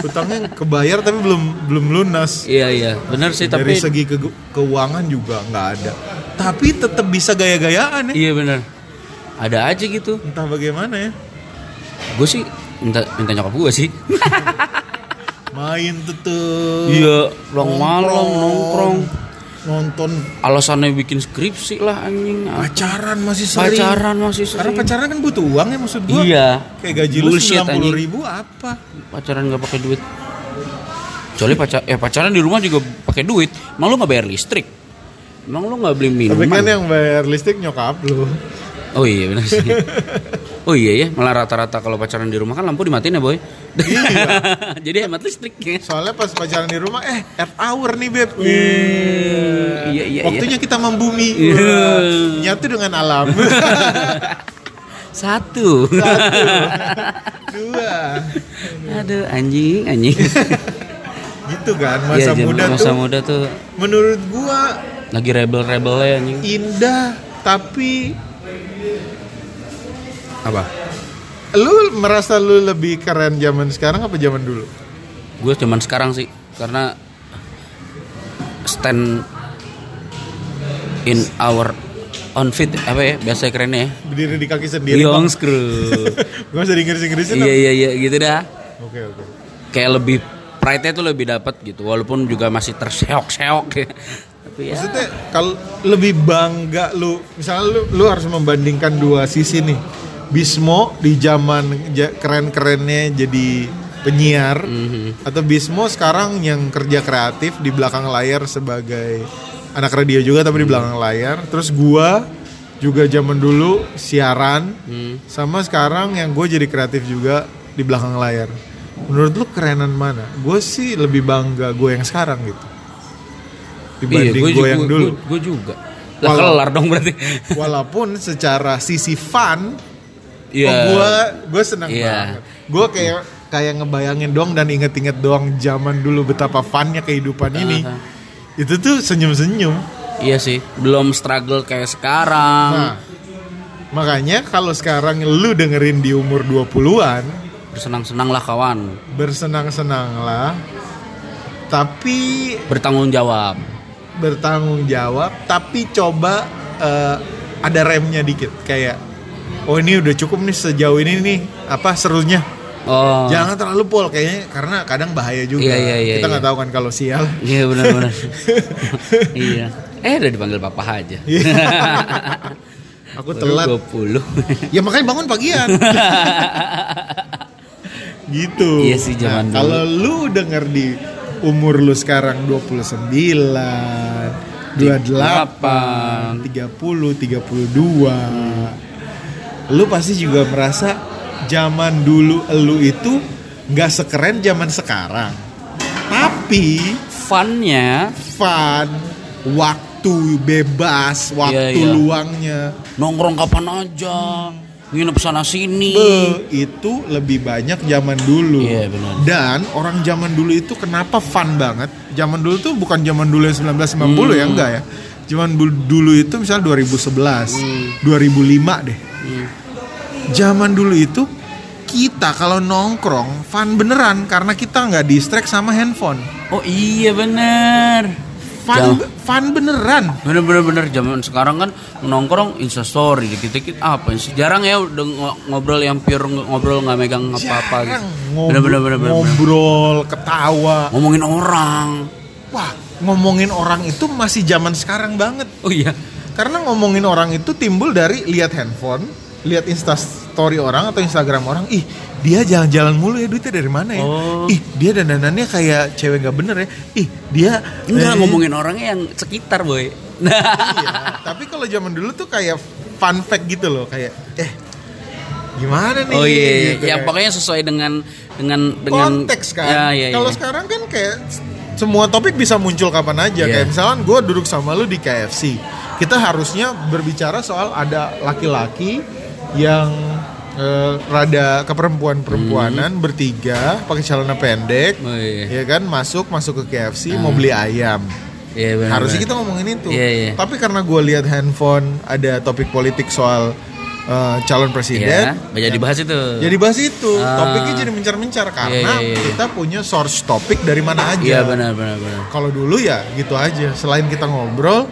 Speaker 2: utangnya kebayar tapi belum belum lunas
Speaker 1: Iya iya, benar sih
Speaker 2: dari
Speaker 1: tapi
Speaker 2: segi ke- keuangan juga nggak ada tapi tetap bisa gaya-gayaan ya
Speaker 1: iya benar. Ada aja gitu.
Speaker 2: entah bagaimana ya
Speaker 1: Gue sih minta minta nyokap gue sih.
Speaker 2: main tetep
Speaker 1: Iya, pulang malam nongkrong.
Speaker 2: nonton
Speaker 1: Alasannya bikin skripsi lah anjing. Ah,
Speaker 2: pacaran masih sering
Speaker 1: Pacaran masih
Speaker 2: karena
Speaker 1: sering.
Speaker 2: pacaran kan butuh uang ya maksud gua
Speaker 1: Iya.
Speaker 2: kayak gaji lu
Speaker 1: Bullshit,
Speaker 2: sembilan
Speaker 1: anjing.
Speaker 2: ribu apa
Speaker 1: Pacaran nggak pakai duit. Kecuali pacar eh pacaran di rumah juga pakai duit. Emang lu nggak bayar listrik? Emang lu nggak beli
Speaker 2: tapi kan
Speaker 1: minuman?
Speaker 2: yang bayar listrik nyokap lu
Speaker 1: Oh iya benar sih. Oh iya ya, malah rata-rata kalau pacaran di rumah kan lampu dimatiin ya boy.
Speaker 2: Iya.
Speaker 1: Jadi hemat listrik.
Speaker 2: soalnya pas pacaran di rumah eh earth hour nih beb
Speaker 1: Iya iya iya.
Speaker 2: Waktunya kita membumi.
Speaker 1: Iya.
Speaker 2: Wah, Nyatu dengan alam.
Speaker 1: Satu.
Speaker 2: Dua.
Speaker 1: Aduh anjing anjing.
Speaker 2: Gitu kan
Speaker 1: Iya,
Speaker 2: masa
Speaker 1: zaman
Speaker 2: muda
Speaker 1: masa
Speaker 2: tuh.
Speaker 1: muda tuh
Speaker 2: Menurut gua
Speaker 1: lagi rebel-rebelnya anjing.
Speaker 2: indah tapi
Speaker 1: Apa?
Speaker 2: lu merasa lu lebih keren zaman sekarang apa zaman dulu?
Speaker 1: Gue cuman sekarang sih karena stand in our on feet apa ya biasa kerennya ya.
Speaker 2: Berdiri di kaki sendiri.
Speaker 1: Beyond
Speaker 2: Iya, Bang.
Speaker 1: screw.
Speaker 2: Gua usah diinggris-inggrisin.
Speaker 1: Iya
Speaker 2: Bang.
Speaker 1: iya iya gitu dah.
Speaker 2: Oke oke.
Speaker 1: Kayak lebih pride-nya tuh lebih dapat gitu walaupun juga masih terseok-seok ya. Tapi ya
Speaker 2: Maksudnya kalau lebih bangga lu, misalnya lu, lu harus membandingkan dua sisi nih. Bismo di zaman ja- keren-kerennya jadi penyiar
Speaker 1: Mhm.
Speaker 2: atau Bismo sekarang yang kerja kreatif di belakang layar sebagai anak radio juga
Speaker 1: Mhm.
Speaker 2: tapi di belakang layar. Terus gua juga zaman dulu siaran
Speaker 1: Mhm.
Speaker 2: sama sekarang yang gue jadi kreatif juga di belakang layar. Menurut lu kerenan mana? Gue sih lebih bangga gue yang sekarang gitu dibanding
Speaker 1: iya, gua
Speaker 2: gue
Speaker 1: ju-
Speaker 2: yang
Speaker 1: gua-
Speaker 2: dulu. Oh,
Speaker 1: gua- gua juga. Lah
Speaker 2: Walau-
Speaker 1: kelar dong berarti.
Speaker 2: Walaupun secara sisi fun, oh,
Speaker 1: Iya.
Speaker 2: gue gue seneng
Speaker 1: Iya.
Speaker 2: banget. Gue kayak kayak ngebayangin doang dan inget-inget doang zaman dulu betapa funnya kehidupan ini.
Speaker 1: Aha.
Speaker 2: Itu tuh senyum-senyum.
Speaker 1: Iya sih, belum struggle kayak sekarang.
Speaker 2: Nah, makanya kalau sekarang lu dengerin di umur 20-an,
Speaker 1: Bersenang-senang lah kawan,
Speaker 2: bersenang-senanglah. Tapi
Speaker 1: bertanggung jawab.
Speaker 2: bertanggung jawab tapi coba eh, ada remnya dikit kayak oh ini udah cukup nih sejauh ini nih apa serunya
Speaker 1: Oh.
Speaker 2: jangan terlalu pol kayaknya karena kadang bahaya juga
Speaker 1: Iya, iya, iya,
Speaker 2: kita
Speaker 1: iya.
Speaker 2: nggak tahu kan kalau sial
Speaker 1: Iya benar-benar. iya. Eh udah dipanggil papa aja.
Speaker 2: aku Iya. telat
Speaker 1: 20.
Speaker 2: ya makanya bangun pagian gitu
Speaker 1: Iya sih, zaman dulu.
Speaker 2: kalau lu denger di umur lu sekarang 29 28 30 32 lu pasti juga merasa zaman dulu lu itu nggak sekeren zaman sekarang tapi
Speaker 1: Funnya
Speaker 2: fun waktu bebas waktu
Speaker 1: Iya, iya.
Speaker 2: luangnya
Speaker 1: nongkrong kapan aja, nginep sana sini.
Speaker 2: Be, Eh, itu lebih banyak zaman dulu.
Speaker 1: Iya, benar.
Speaker 2: Dan orang zaman dulu itu kenapa fun banget? Zaman dulu tuh bukan zaman dulu yang 1990
Speaker 1: Hmm.
Speaker 2: ya enggak ya. Zaman bu- dulu itu misalnya 2011,
Speaker 1: Hmm.
Speaker 2: 2005 deh. Zaman dulu itu kita kalau nongkrong fun beneran karena kita nggak distract sama handphone.
Speaker 1: Oh iya benar.
Speaker 2: Fun fun beneran.
Speaker 1: Bener-bener bener zaman sekarang kan nongkrong instastory dikit-dikit apa sih jarang ya udah ngo- ngobrol yang pure ng- ngobrol nggak megang apa-apa gitu.
Speaker 2: Jarang
Speaker 1: Bener-bener
Speaker 2: ngobrol,
Speaker 1: bener-bener.
Speaker 2: ngobrol, ketawa.
Speaker 1: Ngomongin orang.
Speaker 2: Wah, ngomongin orang itu masih zaman sekarang banget.
Speaker 1: Oh iya.
Speaker 2: Karena ngomongin orang itu timbul dari lihat handphone, lihat Insta story orang atau Instagram orang, ih dia jalan-jalan mulu ya duitnya dari mana ya?
Speaker 1: Oh.
Speaker 2: Ih dia dandanannya kayak cewek nggak bener ya? Ih dia
Speaker 1: Enggak
Speaker 2: eh,
Speaker 1: ngomongin orangnya yang sekitar boy. Nah,
Speaker 2: Iya, tapi kalau zaman dulu tuh kayak fun fact gitu loh, kayak eh gimana nih?
Speaker 1: oh iya,
Speaker 2: gitu
Speaker 1: yang
Speaker 2: kayak.
Speaker 1: pokoknya sesuai dengan dengan dengan
Speaker 2: konteks kan.
Speaker 1: Ya, iya,
Speaker 2: Kalau
Speaker 1: iya.
Speaker 2: sekarang kan kayak s- semua topik bisa muncul kapan
Speaker 1: Iya.
Speaker 2: aja. Kayak misalkan gue duduk sama lu di KFC, kita harusnya berbicara soal ada laki-laki yang eh, rada keperempuan-perempuanan bertiga pakai celana pendek,
Speaker 1: Hmm. Oh, iya.
Speaker 2: ya kan masuk masuk ke KFC mau beli ayam.
Speaker 1: Iya, benar,
Speaker 2: Harusnya
Speaker 1: benar.
Speaker 2: kita ngomongin itu.
Speaker 1: Iya, iya.
Speaker 2: Tapi karena gue lihat handphone ada topik politik soal eh, calon
Speaker 1: Iya,
Speaker 2: presiden, ya
Speaker 1: banyak dibahas itu.
Speaker 2: jadi bahas itu,
Speaker 1: Ah.
Speaker 2: topiknya jadi mencar-mencar karena
Speaker 1: Iya, iya, iya.
Speaker 2: kita punya source topik dari mana aja.
Speaker 1: Iya benar benar benar.
Speaker 2: Kalau dulu ya gitu aja. Selain kita ngobrol,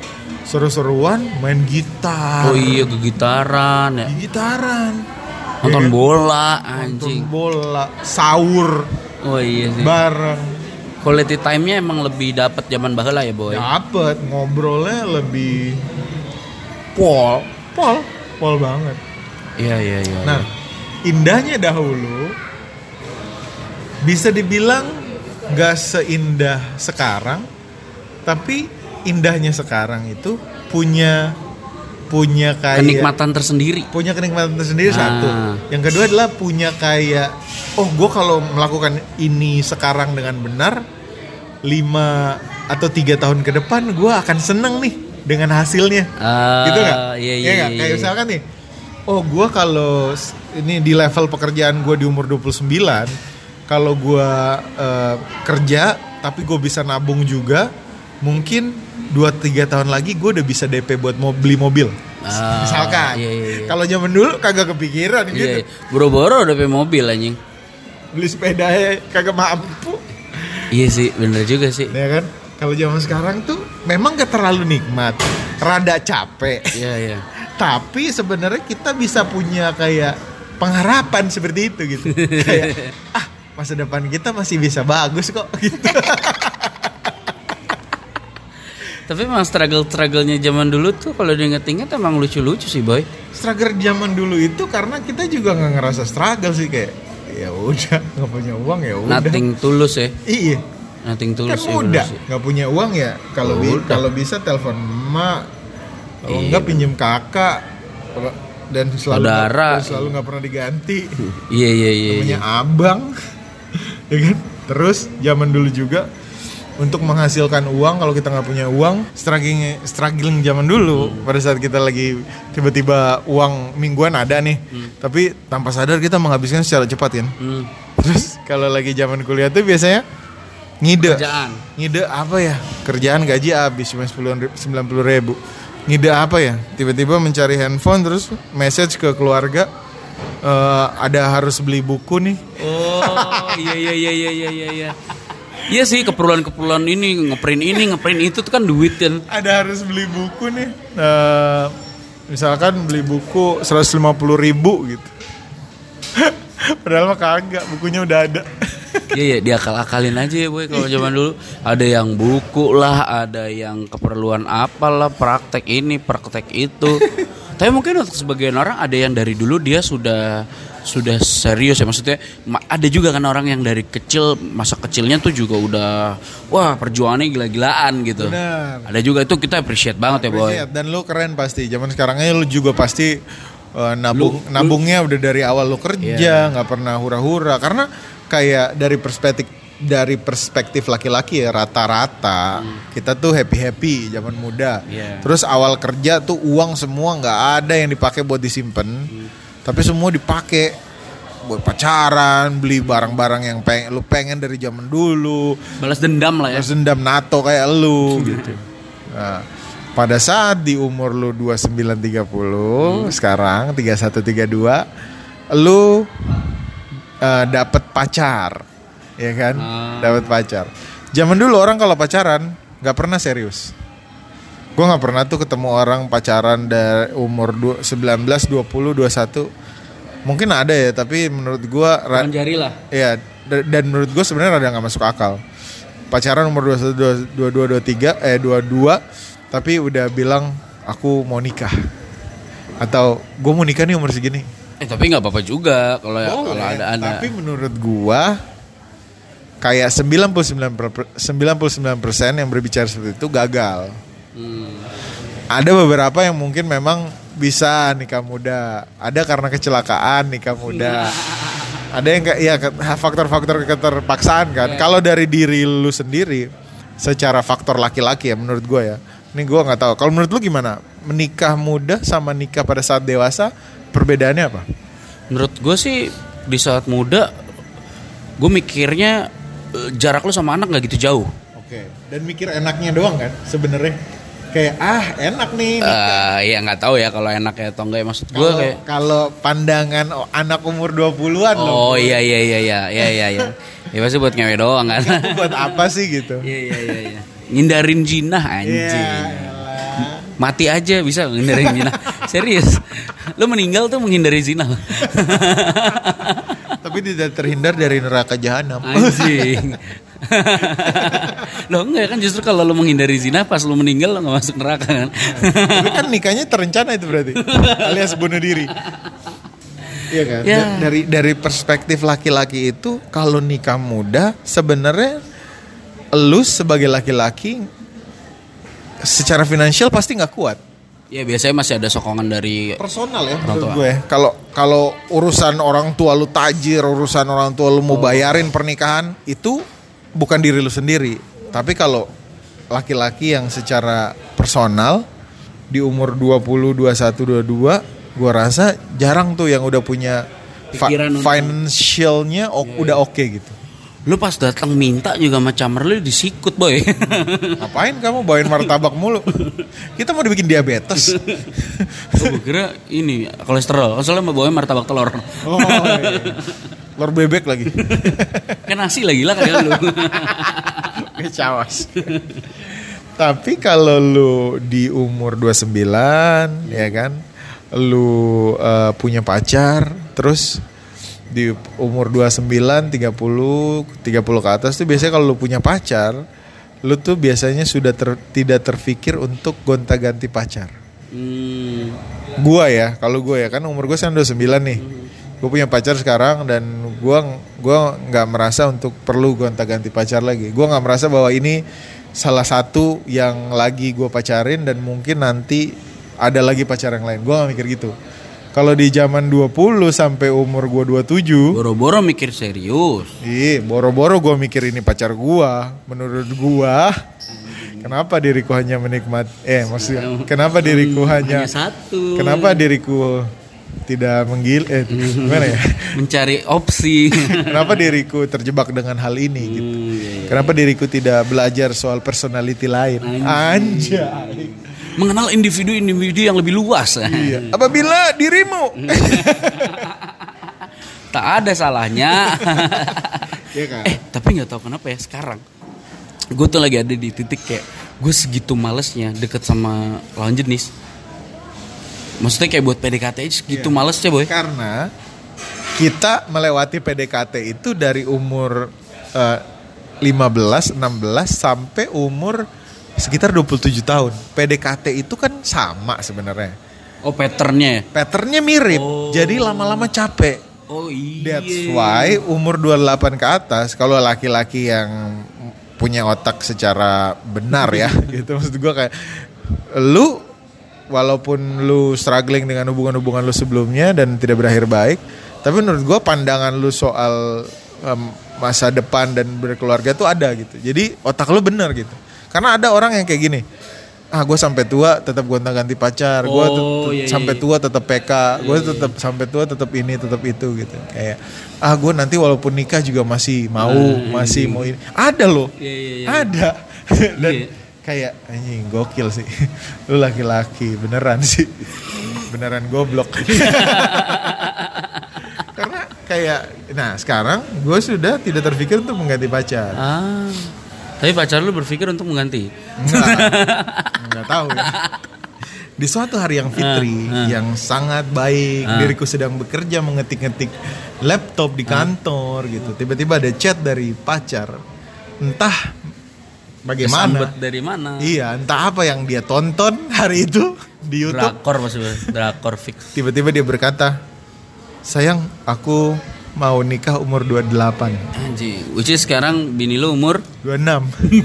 Speaker 2: seru-seruan main gitar,
Speaker 1: Oh iya kegitaran ya.
Speaker 2: gitaran,
Speaker 1: Nonton bola
Speaker 2: Iya. nonton
Speaker 1: anjing.
Speaker 2: bola, sahur
Speaker 1: Oh iya sih.
Speaker 2: bareng,
Speaker 1: Quality time-nya emang lebih dapat zaman baheula ya, boy.
Speaker 2: dapet ngobrolnya lebih pol, pol, pol banget.
Speaker 1: Iya iya iya.
Speaker 2: Nah, indahnya dahulu bisa dibilang gak seindah sekarang, tapi indahnya sekarang itu punya punya
Speaker 1: iya.
Speaker 2: kayak
Speaker 1: kenikmatan tersendiri.
Speaker 2: punya kenikmatan tersendiri
Speaker 1: Ah.
Speaker 2: satu. Yang kedua adalah punya kayak oh gue kalau melakukan ini sekarang dengan benar lima atau tiga tahun ke depan gue akan seneng nih dengan hasilnya
Speaker 1: Ah,
Speaker 2: gitu nggak?
Speaker 1: Iya
Speaker 2: Iya
Speaker 1: iya.
Speaker 2: nggak?
Speaker 1: iya,
Speaker 2: Kayak
Speaker 1: iya.
Speaker 2: misalkan nih, oh gue kalau s- ini di level pekerjaan gue di umur 29, kalau gue kerja tapi gue bisa nabung juga, mungkin 2-3 tahun lagi gue udah bisa DP buat mau beli mobil. S-
Speaker 1: Ah,
Speaker 2: misalkan.
Speaker 1: iya, iya, iya.
Speaker 2: Kalau zaman dulu kagak kepikiran
Speaker 1: Iya,
Speaker 2: gitu.
Speaker 1: iya. Boro-boro udah punya mobil anjing.
Speaker 2: Beli sepeda ya kagak mampu.
Speaker 1: Iya sih, bener juga sih.
Speaker 2: Ya kan? Kalau zaman sekarang tuh memang gak terlalu nikmat, rada capek.
Speaker 1: Iya iya.
Speaker 2: tapi sebenarnya kita bisa punya kayak pengharapan seperti itu gitu kayak ah masa depan kita masih bisa bagus kok gitu
Speaker 1: Tapi emang struggle-struggle-nya zaman dulu tuh kalau diinget-inget emang lucu-lucu sih, boy.
Speaker 2: struggle zaman dulu itu karena kita juga nggak ngerasa struggle sih kayak ya udah nggak punya uang ya udah
Speaker 1: Nothing tulus ya.
Speaker 2: iya
Speaker 1: Nothing tulus
Speaker 2: kan
Speaker 1: ya, bener
Speaker 2: mudah
Speaker 1: sih.
Speaker 2: nggak punya uang ya kalau bi-
Speaker 1: Udah.
Speaker 2: kalau bisa telepon emak kalau
Speaker 1: Iya,
Speaker 2: nggak pinjem kakak Kalau- dan selalu
Speaker 1: Saudara.
Speaker 2: dan selalu nggak pernah diganti
Speaker 1: Iya iya iya. iya.
Speaker 2: punya abang ya kan terus zaman dulu juga untuk menghasilkan uang kalau kita nggak punya uang struggling struggling zaman dulu
Speaker 1: Hmm.
Speaker 2: pada saat kita lagi tiba-tiba uang mingguan ada nih tapi tanpa sadar kita menghabiskan secara cepat kan
Speaker 1: Hmm.
Speaker 2: terus kalau lagi zaman kuliah tuh biasanya ngide
Speaker 1: Kerjaan.
Speaker 2: ngide apa ya kerjaan gaji habis cuma sepuluh sembilan puluh ribu ngide apa ya tiba-tiba mencari handphone terus message ke keluarga eh, ada harus beli buku nih
Speaker 1: Oh, iya iya iya iya iya iya. iya. Iya sih keperluan-keperluan ini ngeprint ini ngeprint itu tuh kan duit kan.
Speaker 2: ada harus beli buku nih Eh, misalkan beli buku 150 ribu gitu padahal mah kagak bukunya udah ada
Speaker 1: Iya iya diakal-akalin aja ya boy kalau zaman dulu ada yang buku lah, ada yang keperluan apalah, praktek ini, praktek itu. Tapi mungkin untuk sebagian orang ada yang dari dulu dia sudah sudah serius ya maksudnya ma- ada juga kan orang yang dari kecil masa kecilnya tuh juga udah wah perjuangannya gila-gilaan gitu.
Speaker 2: Benar.
Speaker 1: Ada juga itu kita appreciate banget ya boy.
Speaker 2: Appreciate. dan lu keren pasti zaman sekarangnya lu juga pasti eh, nabung nabungnya udah dari awal lu
Speaker 1: Iya.
Speaker 2: kerja nggak pernah hura-hura karena kayak dari perspektif dari perspektif laki-laki ya rata-rata kita tuh happy happy zaman muda
Speaker 1: Hmm. Iya.
Speaker 2: terus awal kerja tuh uang semua nggak ada yang dipakai buat disimpan
Speaker 1: Hmm.
Speaker 2: tapi semua dipakai buat pacaran beli barang-barang yang pengen lu pengen dari zaman dulu
Speaker 1: Balas dendam lah ya.
Speaker 2: Terus dendam NATO kayak lu gitu. Nah, pada saat di umur lu 29 30, sekarang 31 32, lu eh, dapet pacar. Ya kan? Dapet pacar. Zaman dulu orang kalau pacaran nggak pernah serius. Gue nggak pernah tuh ketemu orang pacaran dari umur du- 19, 20, 21. Mungkin ada ya, tapi menurut gua ra-
Speaker 1: Tangan jari lah.
Speaker 2: Iya, da- dan menurut gue sebenarnya ada nggak masuk akal. Pacaran umur 21, 22, 23, eh 22, tapi udah bilang aku mau nikah. Atau gue mau nikah nih umur segini.
Speaker 1: Eh tapi nggak apa-apa juga kalau ya,
Speaker 2: Boleh,
Speaker 1: kalau ada ada.
Speaker 2: Oh, eh. iya. Tapi menurut gua kayak 99 per- 99% yang berbicara seperti itu gagal.
Speaker 1: Hmm.
Speaker 2: Ada beberapa yang mungkin memang bisa nikah muda. Ada karena kecelakaan nikah muda. Ada yang kayak ya ke- faktor-faktor keterpaksaan
Speaker 1: Iya.
Speaker 2: kan. Kalau dari diri lu sendiri secara faktor laki-laki ya menurut gua ya. Ini gua nggak tahu. Kalau menurut lu gimana? Menikah muda sama nikah pada saat dewasa perbedaannya apa?
Speaker 1: Menurut gue sih di saat muda gue mikirnya eh, jarak lu sama anak nggak gitu jauh.
Speaker 2: Oke. Dan mikir enaknya doang kan sebenarnya. Kayak ah enak nih.
Speaker 1: Eh ya nggak tahu ya kalau enak ya atau enggak ya maksud gue
Speaker 2: Kalau-
Speaker 1: kayak.
Speaker 2: kalau pandangan o- anak umur 20-an
Speaker 1: Oh
Speaker 2: loh.
Speaker 1: iya iya iya iya iya iya. iya. Ya pasti buat ngewe doang kan.
Speaker 2: Buat apa sih gitu? Ya,
Speaker 1: Iya iya iya. iya. Ngindarin jinah anjing.
Speaker 2: Iya. elah.
Speaker 1: Mati aja bisa menghindari zina. Serius. Lu meninggal tuh menghindari zina.
Speaker 2: Tapi tidak terhindar dari neraka jahanam.
Speaker 1: Anjing. lo enggak kan justru kalau lo menghindari zina pas lo meninggal lo nggak masuk neraka kan.
Speaker 2: Tapi kan nikahnya terencana itu berarti. Alias bunuh diri. Iya kan?
Speaker 1: Ya.
Speaker 2: Da- Dari dari perspektif laki-laki itu kalau nikah muda sebenarnya lu sebagai laki-laki secara finansial pasti nggak kuat.
Speaker 1: ya biasanya masih ada sokongan dari
Speaker 2: personal ya
Speaker 1: Orang
Speaker 2: menurut
Speaker 1: tua.
Speaker 2: gue. Kalau kalau urusan orang tua lu tajir, urusan orang tua lu mau
Speaker 1: Oh.
Speaker 2: bayarin pernikahan itu bukan diri lu sendiri. Tapi kalau laki-laki yang secara personal di umur 20, 21, 22, gua rasa jarang tuh yang udah punya fa-
Speaker 1: Pikiran untuk- Iya,
Speaker 2: financialnya o- udah oke gitu.
Speaker 1: lu pas datang minta juga macam lu disikut boy.
Speaker 2: Ngapain kamu bawain martabak mulu? Kita mau dibikin diabetes.
Speaker 1: Gue Oh, kira ini kolesterol. Kan Soalnya mau bawa martabak telur.
Speaker 2: Oh, iya. Lor bebek lagi.
Speaker 1: Kan nasi lagi lah kagak lu.
Speaker 2: Kecawas. Tapi kalau lu di umur 29 ya kan, lu eh, punya pacar terus di umur 29, 30, 30 ke atas tuh biasanya kalau lu punya pacar, lu tuh biasanya sudah ter- tidak terpikir untuk gonta-ganti pacar.
Speaker 1: Hmm.
Speaker 2: Gua ya, kalau gua ya kan umur gua sekarang 29 nih. Gue punya pacar sekarang dan gua gua nggak merasa untuk perlu gonta-ganti pacar lagi. Gua nggak merasa bahwa ini salah satu yang lagi gua pacarin dan mungkin nanti ada lagi pacar yang lain. Gua gak mikir gitu. Kalau di zaman 20 sampai umur gua 27,
Speaker 1: Boro-boro mikir serius.
Speaker 2: Ih, boro-boro gue mikir ini pacar gua. Menurut gua, kenapa diriku hanya menikmati? Eh, maksudnya, kenapa diriku hanya,
Speaker 1: hanya satu.
Speaker 2: Kenapa diriku tidak menggil? Eh,
Speaker 1: Hmm.
Speaker 2: gimana ya?
Speaker 1: Mencari opsi.
Speaker 2: Kenapa diriku terjebak dengan hal ini? Gitu?
Speaker 1: Hmm, iya, iya.
Speaker 2: Kenapa diriku tidak belajar soal personality lain? Anjay.
Speaker 1: Mengenal individu-individu yang lebih luas.
Speaker 2: Iya. Apabila
Speaker 1: Hmm.
Speaker 2: dirimu,
Speaker 1: Tak ada salahnya.
Speaker 2: Iya kan?
Speaker 1: Eh tapi nggak tahu kenapa ya sekarang. Gue tuh lagi ada di titik kayak gue segitu malesnya deket sama lawan jenis. Maksudnya kayak buat PDKT aja segitu
Speaker 2: Iya.
Speaker 1: malesnya boy.
Speaker 2: Karena kita melewati PDKT itu dari umur eh, 15, 16 sampai umur sekitar 27 tahun. PDKT itu kan sama sebenarnya.
Speaker 1: Oh patternnya ya.
Speaker 2: Patternnya mirip. Jadi lama-lama capek.
Speaker 1: Oh iya.
Speaker 2: That's why umur 28 ke atas kalau laki-laki yang punya otak secara benar ya gitu maksud gua kayak lu walaupun lu struggling dengan hubungan-hubungan lu sebelumnya dan tidak berakhir baik tapi menurut gua pandangan lu soal em, masa depan dan berkeluarga tuh ada gitu jadi otak lu benar gitu karena ada orang yang kayak gini ah gue sampai tua tetap gonta ganti pacar gue
Speaker 1: Oh, iya, iya,
Speaker 2: sampai tua tetap PK gue tetap sampai tua tetap ini tetap itu gitu kayak ah gue nanti walaupun nikah juga masih mau masih mau ini ada loh
Speaker 1: Ah, Iya, iya, iya.
Speaker 2: ada dan
Speaker 1: Iya.
Speaker 2: kayak anjing gokil sih lu laki-laki beneran sih beneran goblok karena kayak nah sekarang gue sudah tidak terpikir untuk mengganti pacar
Speaker 1: Ah. Tapi pacar lu berpikir untuk mengganti.
Speaker 2: Enggak. Enggak tahu ya. Di suatu hari yang fitri yang sangat baik, diriku sedang bekerja mengetik-ngetik laptop di kantor gitu. Tiba-tiba ada chat dari pacar. Entah bagaimana.
Speaker 1: Kesambet dari mana?
Speaker 2: Iya, entah apa yang dia tonton hari itu. di YouTube
Speaker 1: Drakor maksudnya, drakor fix.
Speaker 2: tiba-tiba dia berkata, "Sayang, aku mau nikah umur 28."
Speaker 1: Anjing, which is sekarang bini lu umur
Speaker 2: 26.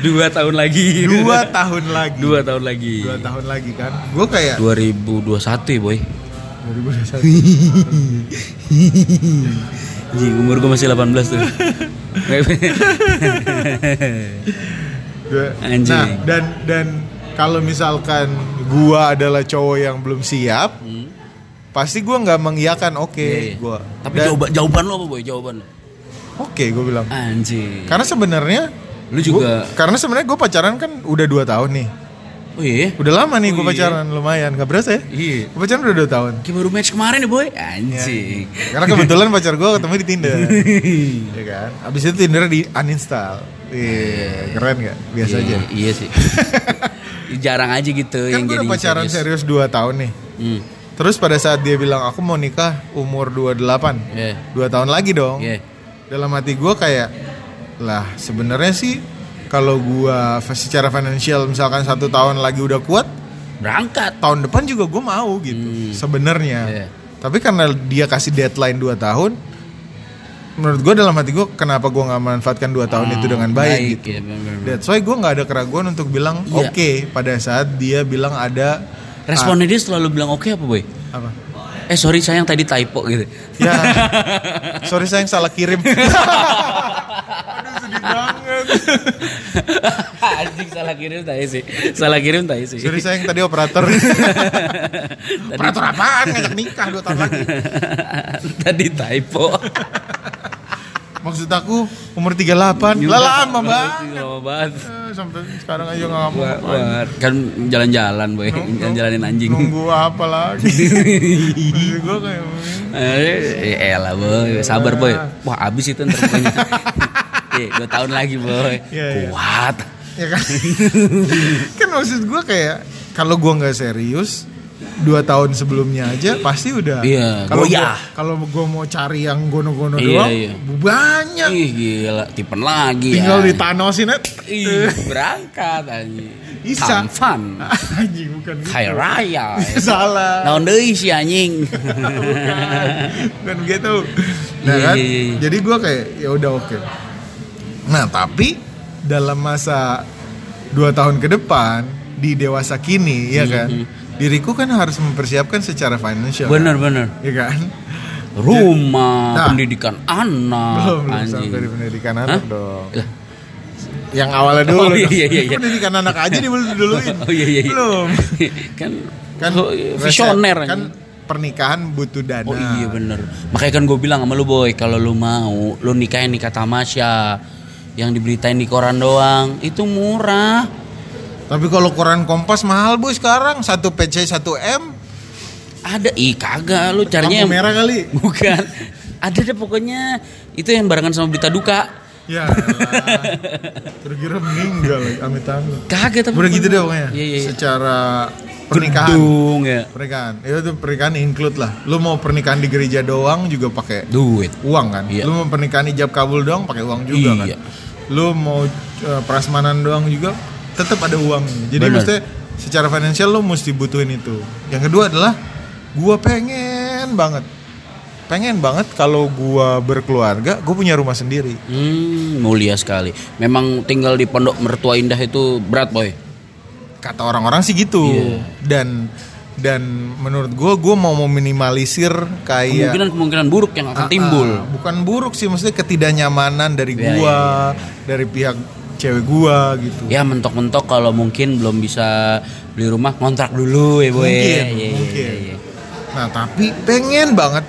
Speaker 1: dua tahun lagi.
Speaker 2: 2 tahun lagi.
Speaker 1: Dua tahun lagi.
Speaker 2: 2 tahun lagi kan. Gue kayak
Speaker 1: 2021 ya boy.
Speaker 2: 2021.
Speaker 1: Anjing, umur gue masih 18 tuh.
Speaker 2: Gua-
Speaker 1: Anjing.
Speaker 2: Nah, dan dan kalau misalkan gua adalah cowok yang belum siap, pasti gua nggak mengiyakan oke
Speaker 1: Hmm. Iya, iya.
Speaker 2: gua.
Speaker 1: Tapi
Speaker 2: Dan,
Speaker 1: jawaban jawaban lu apa boy? Jawaban. lu.
Speaker 2: oke gua bilang.
Speaker 1: Anjing.
Speaker 2: Karena sebenarnya
Speaker 1: Lu
Speaker 2: gua-
Speaker 1: juga-
Speaker 2: karena sebenarnya gua pacaran kan udah 2 tahun nih.
Speaker 1: Oh iya.
Speaker 2: Udah lama nih gua
Speaker 1: Oh, iya.
Speaker 2: pacaran lumayan, nggak berasa ya?
Speaker 1: Iya.
Speaker 2: Gua pacaran udah 2 tahun.
Speaker 1: Kayak baru match kemarin ya boy. Anjing.
Speaker 2: Karena kebetulan pacar gua ketemu di Tinder. Iya kan? Abis itu Tinder di uninstall. Iya, keren gak? Biasa
Speaker 1: Iya,
Speaker 2: aja.
Speaker 1: Iya sih. Jarang aja gitu
Speaker 2: Kan
Speaker 1: yang
Speaker 2: gue
Speaker 1: jadi
Speaker 2: udah pacaran
Speaker 1: serius.
Speaker 2: serius 2 tahun nih.
Speaker 1: Hmm.
Speaker 2: Terus pada saat dia bilang aku mau nikah umur 28.
Speaker 1: Iya.
Speaker 2: 2 tahun lagi dong.
Speaker 1: Iya.
Speaker 2: Dalam hati gue kayak lah sebenarnya sih kalau gua f- secara financial misalkan satu tahun lagi udah kuat,
Speaker 1: Berangkat.
Speaker 2: tahun depan juga gue mau gitu. Sebenarnya.
Speaker 1: Iya.
Speaker 2: Tapi karena dia kasih deadline 2 tahun, menurut gue dalam hati gue kenapa gua nggak manfaatkan 2 tahun itu dengan baik,
Speaker 1: ya,
Speaker 2: gitu.
Speaker 1: bener-bener.
Speaker 2: That's why gue nggak ada keraguan untuk bilang
Speaker 1: Iya.
Speaker 2: oke pada saat dia bilang ada
Speaker 1: Responnya dia
Speaker 2: Ah.
Speaker 1: selalu bilang oke apa boy?
Speaker 2: apa?
Speaker 1: Eh sorry sayang tadi typo gitu.
Speaker 2: Ya, sorry sayang salah kirim. Aduh sedih banget.
Speaker 1: Anjing salah kirim tadi sih. Salah kirim tadi sih.
Speaker 2: Sorry sayang tadi operator. operator apaan ngajak nikah dua tahun lagi.
Speaker 1: tadi typo.
Speaker 2: Maksud aku umur 38 lah lama banget.
Speaker 1: Lama banget.
Speaker 2: Eh, Sampai sekarang aja nggak ngomong.
Speaker 1: Wah, wah. Kan jalan-jalan boy, jalan-jalanin anjing.
Speaker 2: Nunggu apa lagi? gue kayak
Speaker 1: Eh, ya elah boy, sabar boy. Wah abis itu ntar pokoknya. Eh, dua tahun lagi boy.
Speaker 2: Iya, iya.
Speaker 1: Kuat.
Speaker 2: ya kan kan maksud gue kayak kalau gue nggak serius dua tahun sebelumnya aja pasti udah
Speaker 1: Iya,
Speaker 2: kalau gua-
Speaker 1: goyah.
Speaker 2: kalau gue mau cari yang gono-gono
Speaker 1: Iya,
Speaker 2: doang
Speaker 1: iya.
Speaker 2: banyak
Speaker 1: Ih gila, tipen lagi
Speaker 2: tinggal
Speaker 1: ya.
Speaker 2: ditanosin aja.
Speaker 1: Ih, berangkat anjing.
Speaker 2: Isa.
Speaker 1: Tamfan.
Speaker 2: anjing bukan gitu.
Speaker 1: Kaya raya.
Speaker 2: salah
Speaker 1: Naon deui si anjing.
Speaker 2: bukan gitu nah
Speaker 1: Iya,
Speaker 2: kan
Speaker 1: iya, iya.
Speaker 2: jadi gue kayak ya udah oke nah tapi dalam masa dua tahun ke depan di dewasa kini
Speaker 1: Hmm,
Speaker 2: ya kan diriku kan harus mempersiapkan secara financial
Speaker 1: bener bener.
Speaker 2: ya kan
Speaker 1: Rumah,
Speaker 2: Nah.
Speaker 1: pendidikan anak,
Speaker 2: belum belum
Speaker 1: Ah, anjing.
Speaker 2: sampai di pendidikan anak
Speaker 1: Hah?
Speaker 2: dong
Speaker 1: Lah.
Speaker 2: yang awalnya dulu
Speaker 1: Oh, iya,
Speaker 2: dong.
Speaker 1: iya, iya, iya.
Speaker 2: pendidikan anak aja dulu duluin
Speaker 1: Oh iya iya. iya.
Speaker 2: belum
Speaker 1: kan
Speaker 2: kan
Speaker 1: kan visioner
Speaker 2: resep- kan Nah.
Speaker 1: anjing.
Speaker 2: pernikahan butuh dana
Speaker 1: Oh iya bener Makanya kan gue bilang sama lu boy Kalau lu mau Lu nikahin nikah tamasya Yang diberitain di koran doang Itu murah
Speaker 2: tapi kalau koran kompas mahal bu sekarang satu pc 1 m
Speaker 1: Ada Ih kagak Lu carinya
Speaker 2: lampu
Speaker 1: yang-
Speaker 2: merah kali
Speaker 1: Bukan Ada deh pokoknya Itu yang barengan sama berita duka
Speaker 2: ya elah. kira-kira meninggal amit amit
Speaker 1: Kagak tapi
Speaker 2: udah gitu
Speaker 1: bener.
Speaker 2: deh pokoknya
Speaker 1: Iya iya
Speaker 2: secara pernikahan
Speaker 1: Gedung ya
Speaker 2: pernikahan itu pernikahan include lah lu mau pernikahan di gereja doang juga pakai
Speaker 1: Duit
Speaker 2: uang kan.
Speaker 1: Iya.
Speaker 2: Lu mau pernikahan ijab kabul doang pakai uang juga
Speaker 1: Iya.
Speaker 2: kan. Lu mau eh, prasmanan doang juga tetap ada uang. Jadi
Speaker 1: Bener.
Speaker 2: mesti secara finansial lu mesti butuhin itu. Yang kedua adalah gua pengen banget pengen banget kalau gua berkeluarga, gua punya rumah sendiri.
Speaker 1: Hmm mulia sekali Memang tinggal di pondok mertua indah itu berat boy
Speaker 2: Kata orang-orang sih gitu.
Speaker 1: Iya.
Speaker 2: Dan dan menurut gua gua mau meminimalisir kayak
Speaker 1: Kemungkinan-kemungkinan buruk yang akan timbul
Speaker 2: Iya. Ah, bukan buruk sih maksudnya ketidaknyamanan dari
Speaker 1: Ya,
Speaker 2: gua, dari pihak cewek gua gitu.
Speaker 1: Ya mentok-mentok kalau mungkin belum bisa beli rumah kontrak dulu ya boy.
Speaker 2: mungkin,
Speaker 1: Iya, iya,
Speaker 2: mungkin.
Speaker 1: iya, iya.
Speaker 2: Nah tapi pengen banget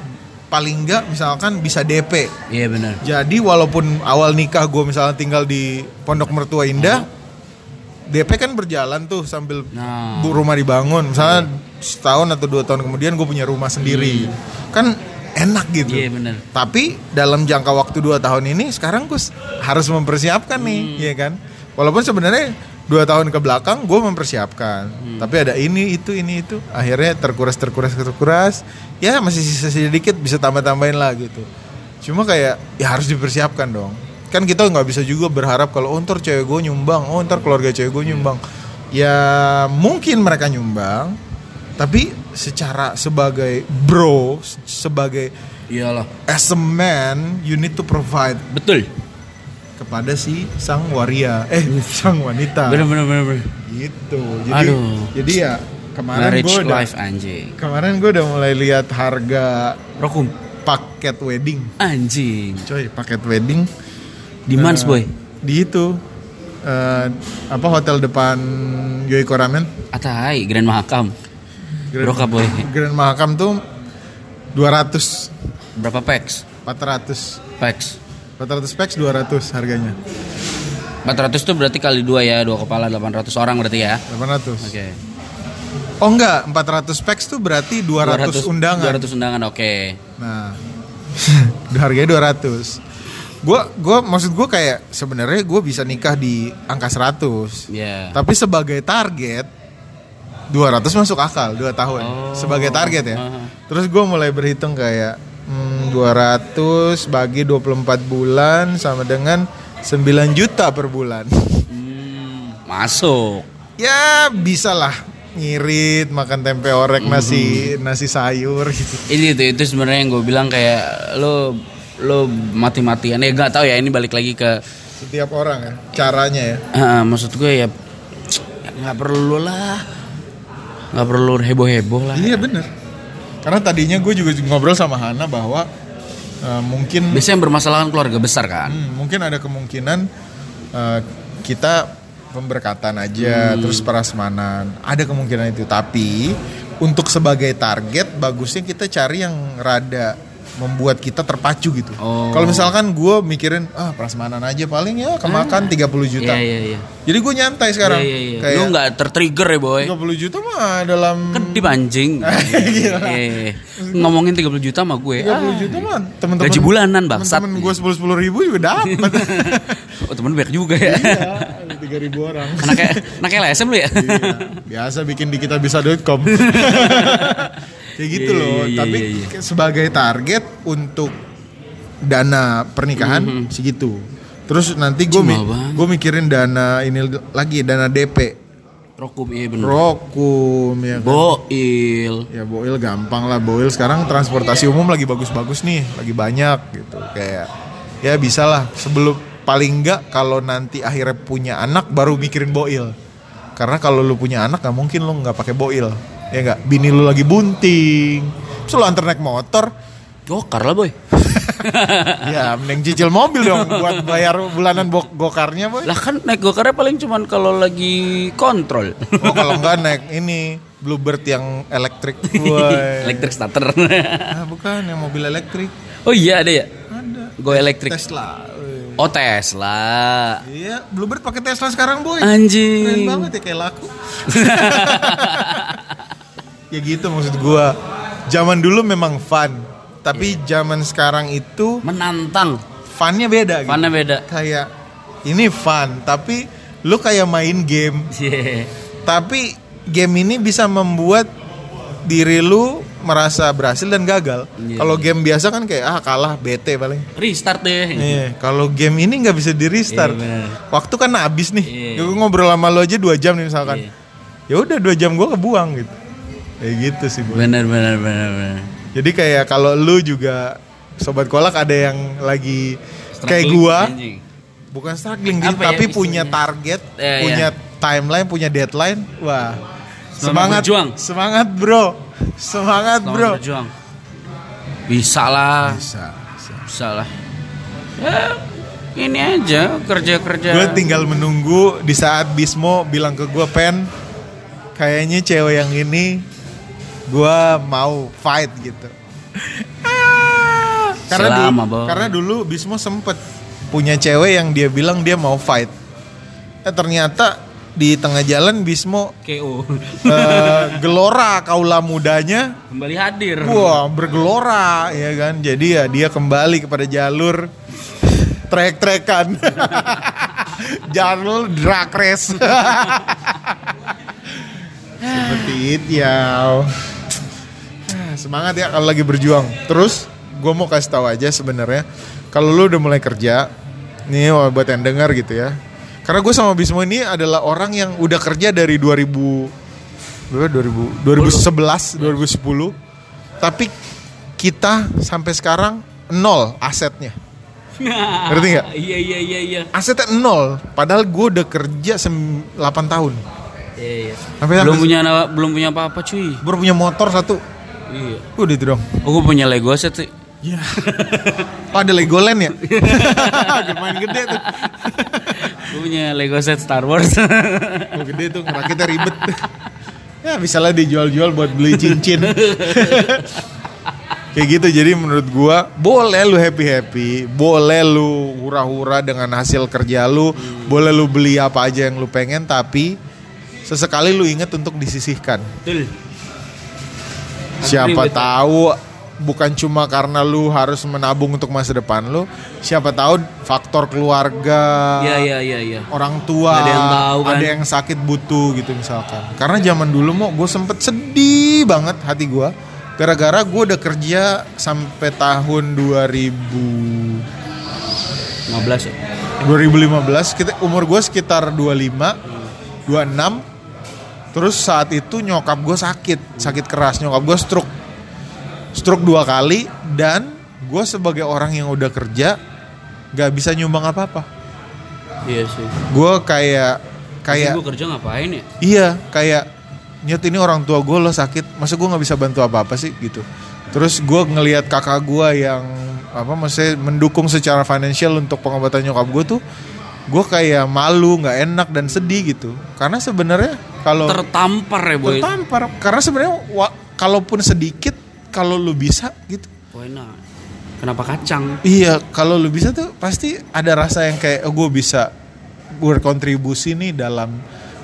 Speaker 2: paling nggak misalkan bisa DP.
Speaker 1: Iya benar.
Speaker 2: Jadi walaupun awal nikah gue misalnya tinggal di Pondok Mertua Indah, DP kan berjalan tuh sambil
Speaker 1: Nah. Iya.
Speaker 2: bu rumah dibangun. Misalnya setahun atau dua tahun kemudian gue punya rumah sendiri,
Speaker 1: Hmm.
Speaker 2: kan enak gitu.
Speaker 1: Iya benar.
Speaker 2: Tapi dalam jangka waktu 2 tahun ini sekarang gue s- harus mempersiapkan nih, ya kan? Walaupun sebenarnya dua tahun ke belakang gue mempersiapkan, tapi ada ini itu ini itu akhirnya terkuras terkuras terkuras, ya masih sisa sedikit bisa tambah tambahin lah gitu. Cuma kayak ya harus dipersiapkan dong. Kan kita nggak bisa juga berharap kalau oh, ntar cewek gue nyumbang, oh ntar keluarga cewek gue nyumbang. ya mungkin mereka nyumbang tapi secara sebagai bro se- sebagai
Speaker 1: Iyalah.
Speaker 2: as a man you need to provide
Speaker 1: Betul.
Speaker 2: kepada si sang waria eh sang wanita
Speaker 1: Bener bener bener. bener.
Speaker 2: gitu jadi
Speaker 1: Aduh.
Speaker 2: jadi ya kemarin
Speaker 1: Marriage
Speaker 2: gue udah
Speaker 1: life anjing.
Speaker 2: kemarin gue udah mulai lihat harga
Speaker 1: Rokum.
Speaker 2: paket wedding
Speaker 1: Anjing.
Speaker 2: coy paket wedding
Speaker 1: Demands
Speaker 2: eh,
Speaker 1: boy.
Speaker 2: di itu eh, apa hotel depan Yoiko Ramen
Speaker 1: Atai Grand Mahakam. Broka boy.
Speaker 2: Grand Mahakam tuh 200
Speaker 1: Berapa packs?
Speaker 2: 400
Speaker 1: Packs.
Speaker 2: 400 packs 200 harganya
Speaker 1: 400 tuh berarti kali dua ya, dua kepala 800 orang berarti ya.
Speaker 2: 800
Speaker 1: Oke.
Speaker 2: oh enggak 400 packs tuh berarti 200, undangan
Speaker 1: 200 undangan, oke.
Speaker 2: Nah, harganya 200. Gua gua maksud gua kayak sebenarnya gua bisa nikah di angka 100.
Speaker 1: Ya.
Speaker 2: Tapi sebagai target 200 masuk akal 2 tahun
Speaker 1: Oh.
Speaker 2: sebagai target ya.
Speaker 1: Aha.
Speaker 2: Terus gua mulai berhitung kayak hmm, 200 bagi 24 bulan sama dengan 9 juta per bulan.
Speaker 1: Hmm, masuk.
Speaker 2: Ya, bisalah ngirit, makan tempe orek, nasi
Speaker 1: Mm-hmm.
Speaker 2: nasi sayur gitu.
Speaker 1: Ini itu itu sebenarnya yang gue bilang kayak lo lo mati-matian ya nggak tahu ya ini balik lagi ke
Speaker 2: Setiap orang ya caranya ya.
Speaker 1: eh, maksud gue ya ya nggak perlu lah nggak perlu heboh-heboh lah
Speaker 2: Iya bener Karena tadinya gue juga ngobrol sama Hana bahwa eh, mungkin
Speaker 1: biasanya yang bermasalah kan keluarga besar kan
Speaker 2: hmm, mungkin ada kemungkinan eh, kita pemberkatan aja
Speaker 1: Hmm.
Speaker 2: terus perasmanan ada kemungkinan itu tapi untuk sebagai target bagusnya kita cari yang rada membuat kita terpacu gitu.
Speaker 1: Oh.
Speaker 2: Kalau misalkan gue mikirin ah prasmanan aja paling ya kemakan 30 juta.
Speaker 1: iya iya iya
Speaker 2: Jadi gue nyantai sekarang.
Speaker 1: Iya, iya, iya.
Speaker 2: Kayak
Speaker 1: lo nggak tertrigger ya boy
Speaker 2: 30 juta mah dalam
Speaker 1: kedip anjing
Speaker 2: Gila.
Speaker 1: Iya, iya. ngomongin 30 juta sama gue
Speaker 2: 30 juta mah teman-teman
Speaker 1: Gaji bulanan, bangsat.
Speaker 2: Temen gue sepuluh sepuluh ribu juga dapat.
Speaker 1: oh temen banyak juga ya
Speaker 2: Iya. tiga ribu orang.
Speaker 1: anaknya anaknya LSM lu ya
Speaker 2: Iya, Biasa bikin di kita bisa.com. Kayak gitu
Speaker 1: Iya,
Speaker 2: loh.
Speaker 1: iya, iya,
Speaker 2: Tapi
Speaker 1: iya, iya.
Speaker 2: ke- sebagai target untuk dana pernikahan segitu. Terus nanti gue
Speaker 1: Mm-hmm. Cuma banget.
Speaker 2: gue mikirin dana ini lagi dana DP,
Speaker 1: rokum iya bener
Speaker 2: rokum ya. kan.
Speaker 1: boil
Speaker 2: Ya Boil gampang lah Boil sekarang transportasi
Speaker 1: Iya.
Speaker 2: umum lagi bagus-bagus nih Lagi banyak gitu Kayak ya bisa lah sebelum Paling enggak kalau nanti akhirnya punya anak baru mikirin Boil Karena kalau lu punya anak gak mungkin lu nggak pakai Boil Ya enggak bini lu lagi bunting Terus lu antar naik motor
Speaker 1: gokar lah boy
Speaker 2: Ya mending cicil mobil dong buat bayar bulanan bok gokarnya boy
Speaker 1: Lah kan naik gokarnya paling cuman kalau lagi kontrol.
Speaker 2: Oh kalau enggak naik ini Bluebird yang elektrik Woi.
Speaker 1: Elektrik starter.
Speaker 2: Ah, bukan yang mobil elektrik
Speaker 1: oh iya ada ya.
Speaker 2: Ada
Speaker 1: Go elektrik.
Speaker 2: Tesla woi.
Speaker 1: Oh Tesla.
Speaker 2: Iya, Bluebird pakai Tesla sekarang boy. Keren
Speaker 1: Anjing.
Speaker 2: banget ya kayak laku. ya gitu maksud gua. Zaman dulu memang fun, tapi
Speaker 1: Iya.
Speaker 2: zaman sekarang itu
Speaker 1: Menantang.
Speaker 2: funnya beda.
Speaker 1: Mana
Speaker 2: gitu.
Speaker 1: beda?
Speaker 2: Kayak ini fun, tapi lu kayak main game.
Speaker 1: Yeah.
Speaker 2: Tapi game ini bisa membuat diri lu merasa berhasil dan gagal.
Speaker 1: Iya.
Speaker 2: Kalau game biasa kan kayak ah kalah, bete paling.
Speaker 1: Restart deh.
Speaker 2: Iya, kalau game ini nggak bisa di restart.
Speaker 1: Iya, benar.
Speaker 2: Waktu kan habis nih.
Speaker 1: Iya.
Speaker 2: Gue ngobrol sama lo aja dua jam nih misalkan.
Speaker 1: Iya.
Speaker 2: Ya udah dua jam gue kebuang gitu. Kayak gitu sih bu.
Speaker 1: Bener bener bener bener.
Speaker 2: Jadi kayak kalau lu juga sobat kolak ada yang lagi kayak
Speaker 1: Struggling,
Speaker 2: gua,
Speaker 1: anjing.
Speaker 2: bukan struggling
Speaker 1: Apa
Speaker 2: sih,
Speaker 1: ya
Speaker 2: tapi
Speaker 1: istilahnya?
Speaker 2: punya target,
Speaker 1: Iya,
Speaker 2: punya timeline, punya deadline. Wah,
Speaker 1: Selamat
Speaker 2: semangat,
Speaker 1: berjuang.
Speaker 2: semangat bro, semangat
Speaker 1: Selamat
Speaker 2: bro.
Speaker 1: berjuang. Bisa lah.
Speaker 2: Bisa, bisa.
Speaker 1: Bisa lah. Ya, ini aja kerja-kerja.
Speaker 2: Gue tinggal menunggu di saat Bismo bilang ke gue pen, kayaknya cewek yang ini gue mau fight gitu. Ah, karena
Speaker 1: Selama,
Speaker 2: dulu,
Speaker 1: Bang.
Speaker 2: karena dulu Bismo sempet punya cewek yang dia bilang dia mau fight. Eh ternyata di tengah jalan Bismo
Speaker 1: KO.
Speaker 2: eh, gelora kaula mudanya
Speaker 1: Kembali hadir.
Speaker 2: Wah bergelora ya kan Jadi ya dia kembali kepada jalur Trek-trekan Jalur drag race Seperti itu ya Semangat ya kalau lagi berjuang Terus gue mau kasih tahu aja sebenarnya Kalau lu udah mulai kerja Nih buat yang denger gitu ya Karena gue sama Bismo ini adalah orang yang udah kerja dari 2000 berapa 2000 2011 2010 tapi kita sampai sekarang nol asetnya. Ngerti nggak?
Speaker 1: Iya iya iya iya.
Speaker 2: Asetnya nol, padahal gue udah kerja 8 tahun.
Speaker 1: Iya iya.
Speaker 2: Sampai
Speaker 1: Belum
Speaker 2: sampai-
Speaker 1: punya na- belum punya apa-apa cuy.
Speaker 2: Baru punya motor satu.
Speaker 1: Iya.
Speaker 2: Udah itu dong.
Speaker 1: Oh, gue punya Lego set sih.
Speaker 2: Oh, ada Legoland ya? Udah Main gede tuh.
Speaker 1: gue punya Lego set Star Wars.
Speaker 2: Oh, gede tuh, ngerakitnya ribet. ya, misalnya dijual-jual buat beli cincin. Kayak gitu, jadi menurut gua boleh lu happy-happy, boleh lu hura-hura dengan hasil kerja lu, boleh lu beli apa aja yang lu pengen, tapi sesekali lu inget untuk disisihkan.
Speaker 1: Betul.
Speaker 2: Siapa
Speaker 1: betul.
Speaker 2: tahu bukan cuma karena lu harus menabung untuk masa depan lu, siapa tahu faktor keluarga,
Speaker 1: Iya
Speaker 2: ya.
Speaker 1: iya iya iya.
Speaker 2: orang tua,
Speaker 1: Nggak ada yang tahu kan.
Speaker 2: ada yang sakit butuh gitu misalkan. Karena zaman dulu mau gue sempet sedih banget hati gue, gara-gara gue udah kerja sampai tahun 2000
Speaker 1: 15 ya.
Speaker 2: 2015 kita umur gue sekitar 25 26 terus saat itu nyokap gue sakit sakit keras nyokap gue stroke stroke dua kali dan gue sebagai orang yang udah kerja gak bisa nyumbang apa apa
Speaker 1: Iya sih.
Speaker 2: gue kayak kayak
Speaker 1: gue kerja ngapain ya?
Speaker 2: Iya, kayak nyet ini orang tua gue loh sakit, masa gue nggak bisa bantu apa apa sih gitu. Terus gue ngelihat kakak gue yang apa maksudnya mendukung secara financial untuk pengobatan nyokap gue tuh, gue kayak malu, nggak enak dan sedih gitu. Karena sebenarnya kalau
Speaker 1: Tertampar ya boy.
Speaker 2: tertampar, karena sebenarnya wa- kalaupun sedikit, kalau lu bisa gitu,
Speaker 1: Why not? nah. Kenapa kacang?
Speaker 2: Iya, kalau lu bisa tuh pasti ada rasa yang kayak oh, gue bisa berkontribusi nih dalam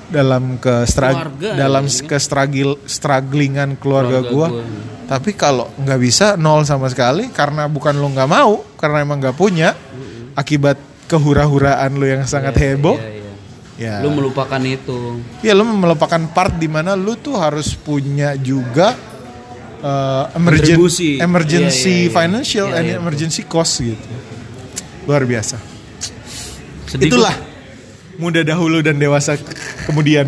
Speaker 2: dalam ke strag-
Speaker 1: Keluarga,
Speaker 2: dalam
Speaker 1: ya,
Speaker 2: ke struggle strugglingan keluarga,
Speaker 1: Keluarga
Speaker 2: gua.
Speaker 1: gua. ya.
Speaker 2: Tapi kalau nggak bisa nol sama sekali karena bukan lu nggak mau, karena emang nggak punya akibat kehura-huraan lu yang sangat heboh.
Speaker 1: Iya iya.
Speaker 2: Ya.
Speaker 1: Lu melupakan itu.
Speaker 2: Ya lu melupakan part dimana lu tuh harus punya juga eh, emergen-
Speaker 1: Kontribusi. Iya, iya,
Speaker 2: emergency
Speaker 1: iya.
Speaker 2: financial
Speaker 1: Iya,
Speaker 2: and
Speaker 1: iya.
Speaker 2: emergency cost gitu. Luar biasa.
Speaker 1: Sedih
Speaker 2: Itulah muda dahulu dan dewasa kemudian.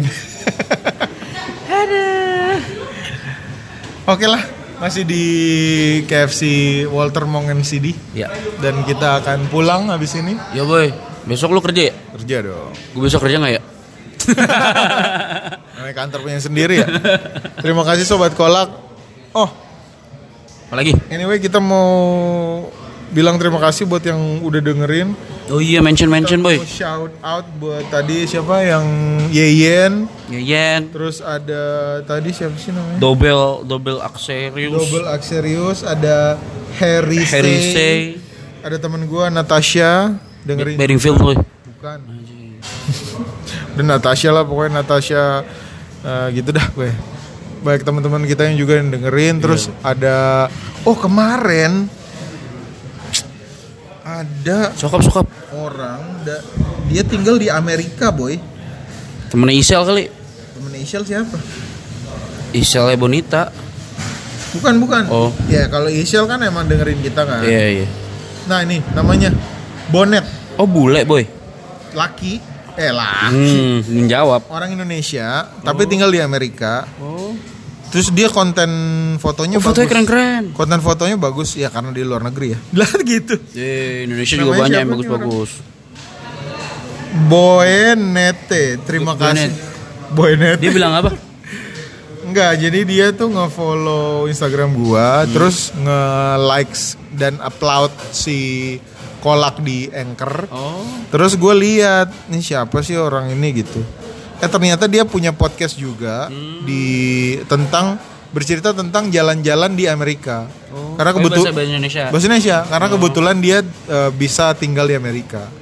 Speaker 2: Oke lah, masih di KFC Walter Mong MCD
Speaker 1: gua. Ya.
Speaker 2: dan kita akan pulang habis ini.
Speaker 1: Ya boy. Besok lu kerja ya?
Speaker 2: Kerja dong.
Speaker 1: Gue besok kerja nggak ya?
Speaker 2: Namanya kantor punya sendiri ya. Terima kasih sobat kolak. Oh,
Speaker 1: Apalagi?
Speaker 2: Anyway kita mau bilang terima kasih buat yang udah dengerin.
Speaker 1: Oh iya mention mention boy.
Speaker 2: Mau shout out buat tadi siapa yang Yeyen,
Speaker 1: Yeyen,
Speaker 2: terus ada tadi siapa sih namanya?
Speaker 1: Dobel, Dobel Axerius,
Speaker 2: Double Axerius, ada Harry Say,
Speaker 1: Harry Say,
Speaker 2: ada teman gua Natasha dengerin
Speaker 1: Bedingfield boy.
Speaker 2: bukan. Udah Natasha lah pokoknya Natasha eh, gitu dah gue. Baik teman-teman kita yang juga yang
Speaker 1: Iya.
Speaker 2: dengerin terus ada oh kemarin ada
Speaker 1: Sokap sokap.
Speaker 2: orang da- dia tinggal di Amerika boy
Speaker 1: Temennya Isel kali.
Speaker 2: temen Ishel siapa
Speaker 1: Iselnya Bonita.
Speaker 2: bukan bukan
Speaker 1: Oh.
Speaker 2: ya kalau Ishel kan emang dengerin kita kan
Speaker 1: Iya iya.
Speaker 2: nah ini namanya Bonet
Speaker 1: Oh bule boy.
Speaker 2: laki eh lah
Speaker 1: Hmm, menjawab.
Speaker 2: orang Indonesia
Speaker 1: Oh.
Speaker 2: tapi tinggal di Amerika terus dia konten fotonya
Speaker 1: Oh, fotonya
Speaker 2: bagus.
Speaker 1: keren-keren.
Speaker 2: konten fotonya bagus ya karena di luar negeri ya lah gitu
Speaker 1: Eh, Indonesia
Speaker 2: Namanya
Speaker 1: juga banyak yang
Speaker 2: siapa nih
Speaker 1: bagus-bagus.
Speaker 2: Boenete terima
Speaker 1: Bonet.
Speaker 2: kasih Boenete
Speaker 1: Dia bilang apa?
Speaker 2: Enggak, jadi dia tuh nge-follow Instagram gua,
Speaker 1: Hmm.
Speaker 2: terus nge-likes dan upload si kolak di Anchor.
Speaker 1: Oh.
Speaker 2: Terus gue lihat nih siapa sih orang ini gitu. Eh ternyata dia punya podcast juga
Speaker 1: Hmm.
Speaker 2: di tentang bercerita tentang jalan-jalan di Amerika. Karena
Speaker 1: Oh. bahasa,
Speaker 2: kebetulan
Speaker 1: bahasa Indonesia. Oh.
Speaker 2: bahasa Indonesia, karena kebetulan dia eh, bisa tinggal di Amerika.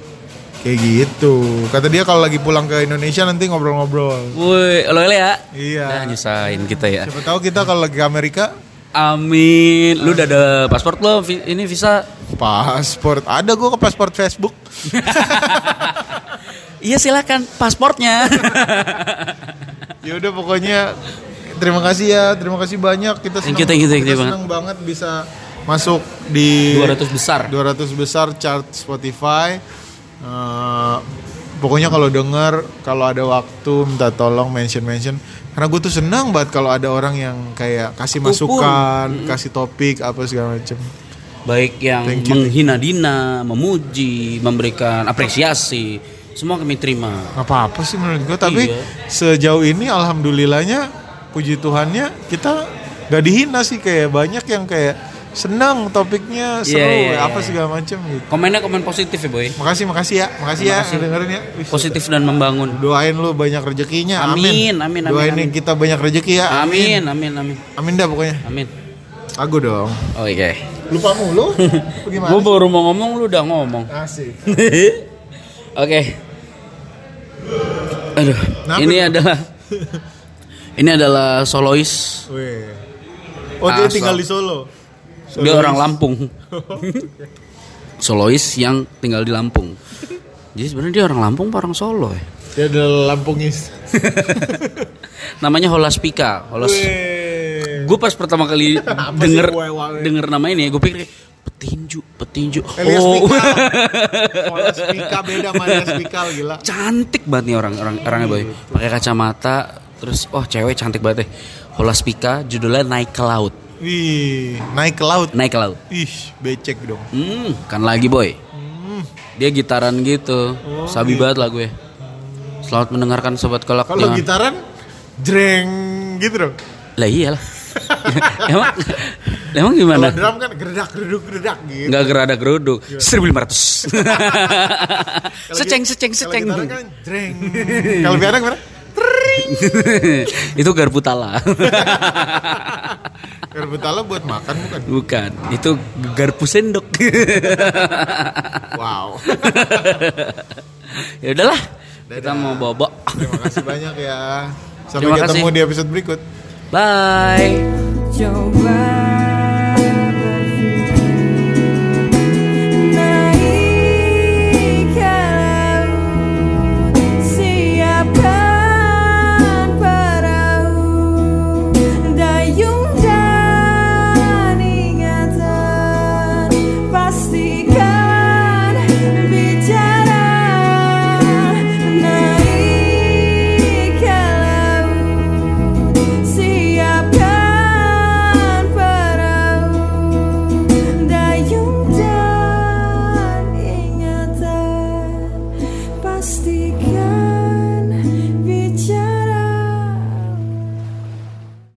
Speaker 2: Kayak gitu. Kata dia kalau lagi pulang ke Indonesia nanti ngobrol-ngobrol.
Speaker 1: Woi, lo ya.
Speaker 2: Iya.
Speaker 1: Nah, nyusahin kita ya.
Speaker 2: Siapa tahu kita kalau lagi ke Amerika
Speaker 1: Amin. Lu udah ada paspor lo Vi- ini visa.
Speaker 2: Paspor ada gue ke paspor Facebook.
Speaker 1: Iya, silakan paspornya.
Speaker 2: ya udah pokoknya terima kasih ya, terima kasih banyak kita senang,
Speaker 1: Thank you, thank you, thank you
Speaker 2: kita senang banget bisa masuk di
Speaker 1: 200 besar.
Speaker 2: 200 besar chart Spotify. Eh, Pokoknya kalau denger, kalau ada waktu minta tolong mention-mention. Karena gue tuh senang banget kalau ada orang yang kayak kasih
Speaker 1: Aku pun.
Speaker 2: masukan, kasih topik apa segala macem.
Speaker 1: baik yang
Speaker 2: Thank you.
Speaker 1: menghina Dina, memuji, memberikan apresiasi, semua kami terima.
Speaker 2: Gak apa-apa sih menurut gue. Tapi
Speaker 1: Iya.
Speaker 2: sejauh ini alhamdulillahnya puji Tuhannya kita gak dihina sih kayak banyak yang kayak senang topiknya seru
Speaker 1: Iya, iya,
Speaker 2: apa
Speaker 1: iya.
Speaker 2: segala macem gitu.
Speaker 1: Komennya komen positif ya boy,
Speaker 2: Makasih makasih ya, makasih, ya dengerin ya. Wih,
Speaker 1: positif dan membangun.
Speaker 2: Doain lu banyak rezekinya.
Speaker 1: Amin,
Speaker 2: Amin.
Speaker 1: amin, amin,
Speaker 2: Doain
Speaker 1: amin.
Speaker 2: kita banyak rezeki ya.
Speaker 1: Amin, amin, amin,
Speaker 2: Amin dah pokoknya.
Speaker 1: amin.
Speaker 2: Aku dong.
Speaker 1: Oke.
Speaker 2: Lupa mulu. Gimana?
Speaker 1: Gue baru mau ngomong, lu udah ngomong.
Speaker 2: Asik.
Speaker 1: Oke. Aduh,
Speaker 2: Kenapa
Speaker 1: ini
Speaker 2: tuh?
Speaker 1: adalah ini adalah solois.
Speaker 2: Weh. Oh dia
Speaker 1: Asal.
Speaker 2: tinggal di Solo.
Speaker 1: Dia orang Lampung. solois yang tinggal di Lampung. Jadi sebenarnya dia orang Lampung, apa orang Solo ya.
Speaker 2: Dia adalah Lampungis.
Speaker 1: Namanya Holas Pika. Holas.
Speaker 2: Weh.
Speaker 1: Gue pas pertama kali
Speaker 2: sih
Speaker 1: denger
Speaker 2: wae-wae?
Speaker 1: denger nama ini, gue pikir petinju, petinju.
Speaker 2: Elias
Speaker 1: oh,
Speaker 2: Pikal. Kalau Spika beda sama Elias Pikal gila.
Speaker 1: cantik banget nih orang orang orangnya boy.
Speaker 2: Hmm.
Speaker 1: Pakai kacamata, terus wah cewek cantik banget deh. Holas Pika, judulnya naik ke laut.
Speaker 2: Wih, naik ke laut.
Speaker 1: Naik ke laut.
Speaker 2: Ih, becek dong.
Speaker 1: Hmm, kan lagi boy.
Speaker 2: Hmm,
Speaker 1: Dia gitaran gitu.
Speaker 2: Oh,
Speaker 1: Sabi banget lah gue. Selamat mendengarkan sobat kolak.
Speaker 2: iya. Kalau
Speaker 1: Jangan-
Speaker 2: gitaran jreng gitu dong.
Speaker 1: Lah iyalah. emang emang gimana?
Speaker 2: Kalau drum kan gerdak geruduk gerdak gitu.
Speaker 1: Nggak gerada geruduk. 1500.
Speaker 2: Iya. Kalau
Speaker 1: seceng
Speaker 2: git-
Speaker 1: seceng seceng.
Speaker 2: Kalau gitaran kan jreng. Kalau piano gimana?
Speaker 1: itu garpu tala.
Speaker 2: Gerbetala buat makan bukan?
Speaker 1: Bukan, itu garpu sendok.
Speaker 2: Wow.
Speaker 1: ya udahlah. Kita mau bobo.
Speaker 2: Terima kasih banyak ya. Sampai
Speaker 1: Terima
Speaker 2: ketemu
Speaker 1: kasih.
Speaker 2: di episode berikut.
Speaker 1: Bye.
Speaker 3: Coba berpikir naik kalau siapkan perahu dayung dan ingatan pastikan.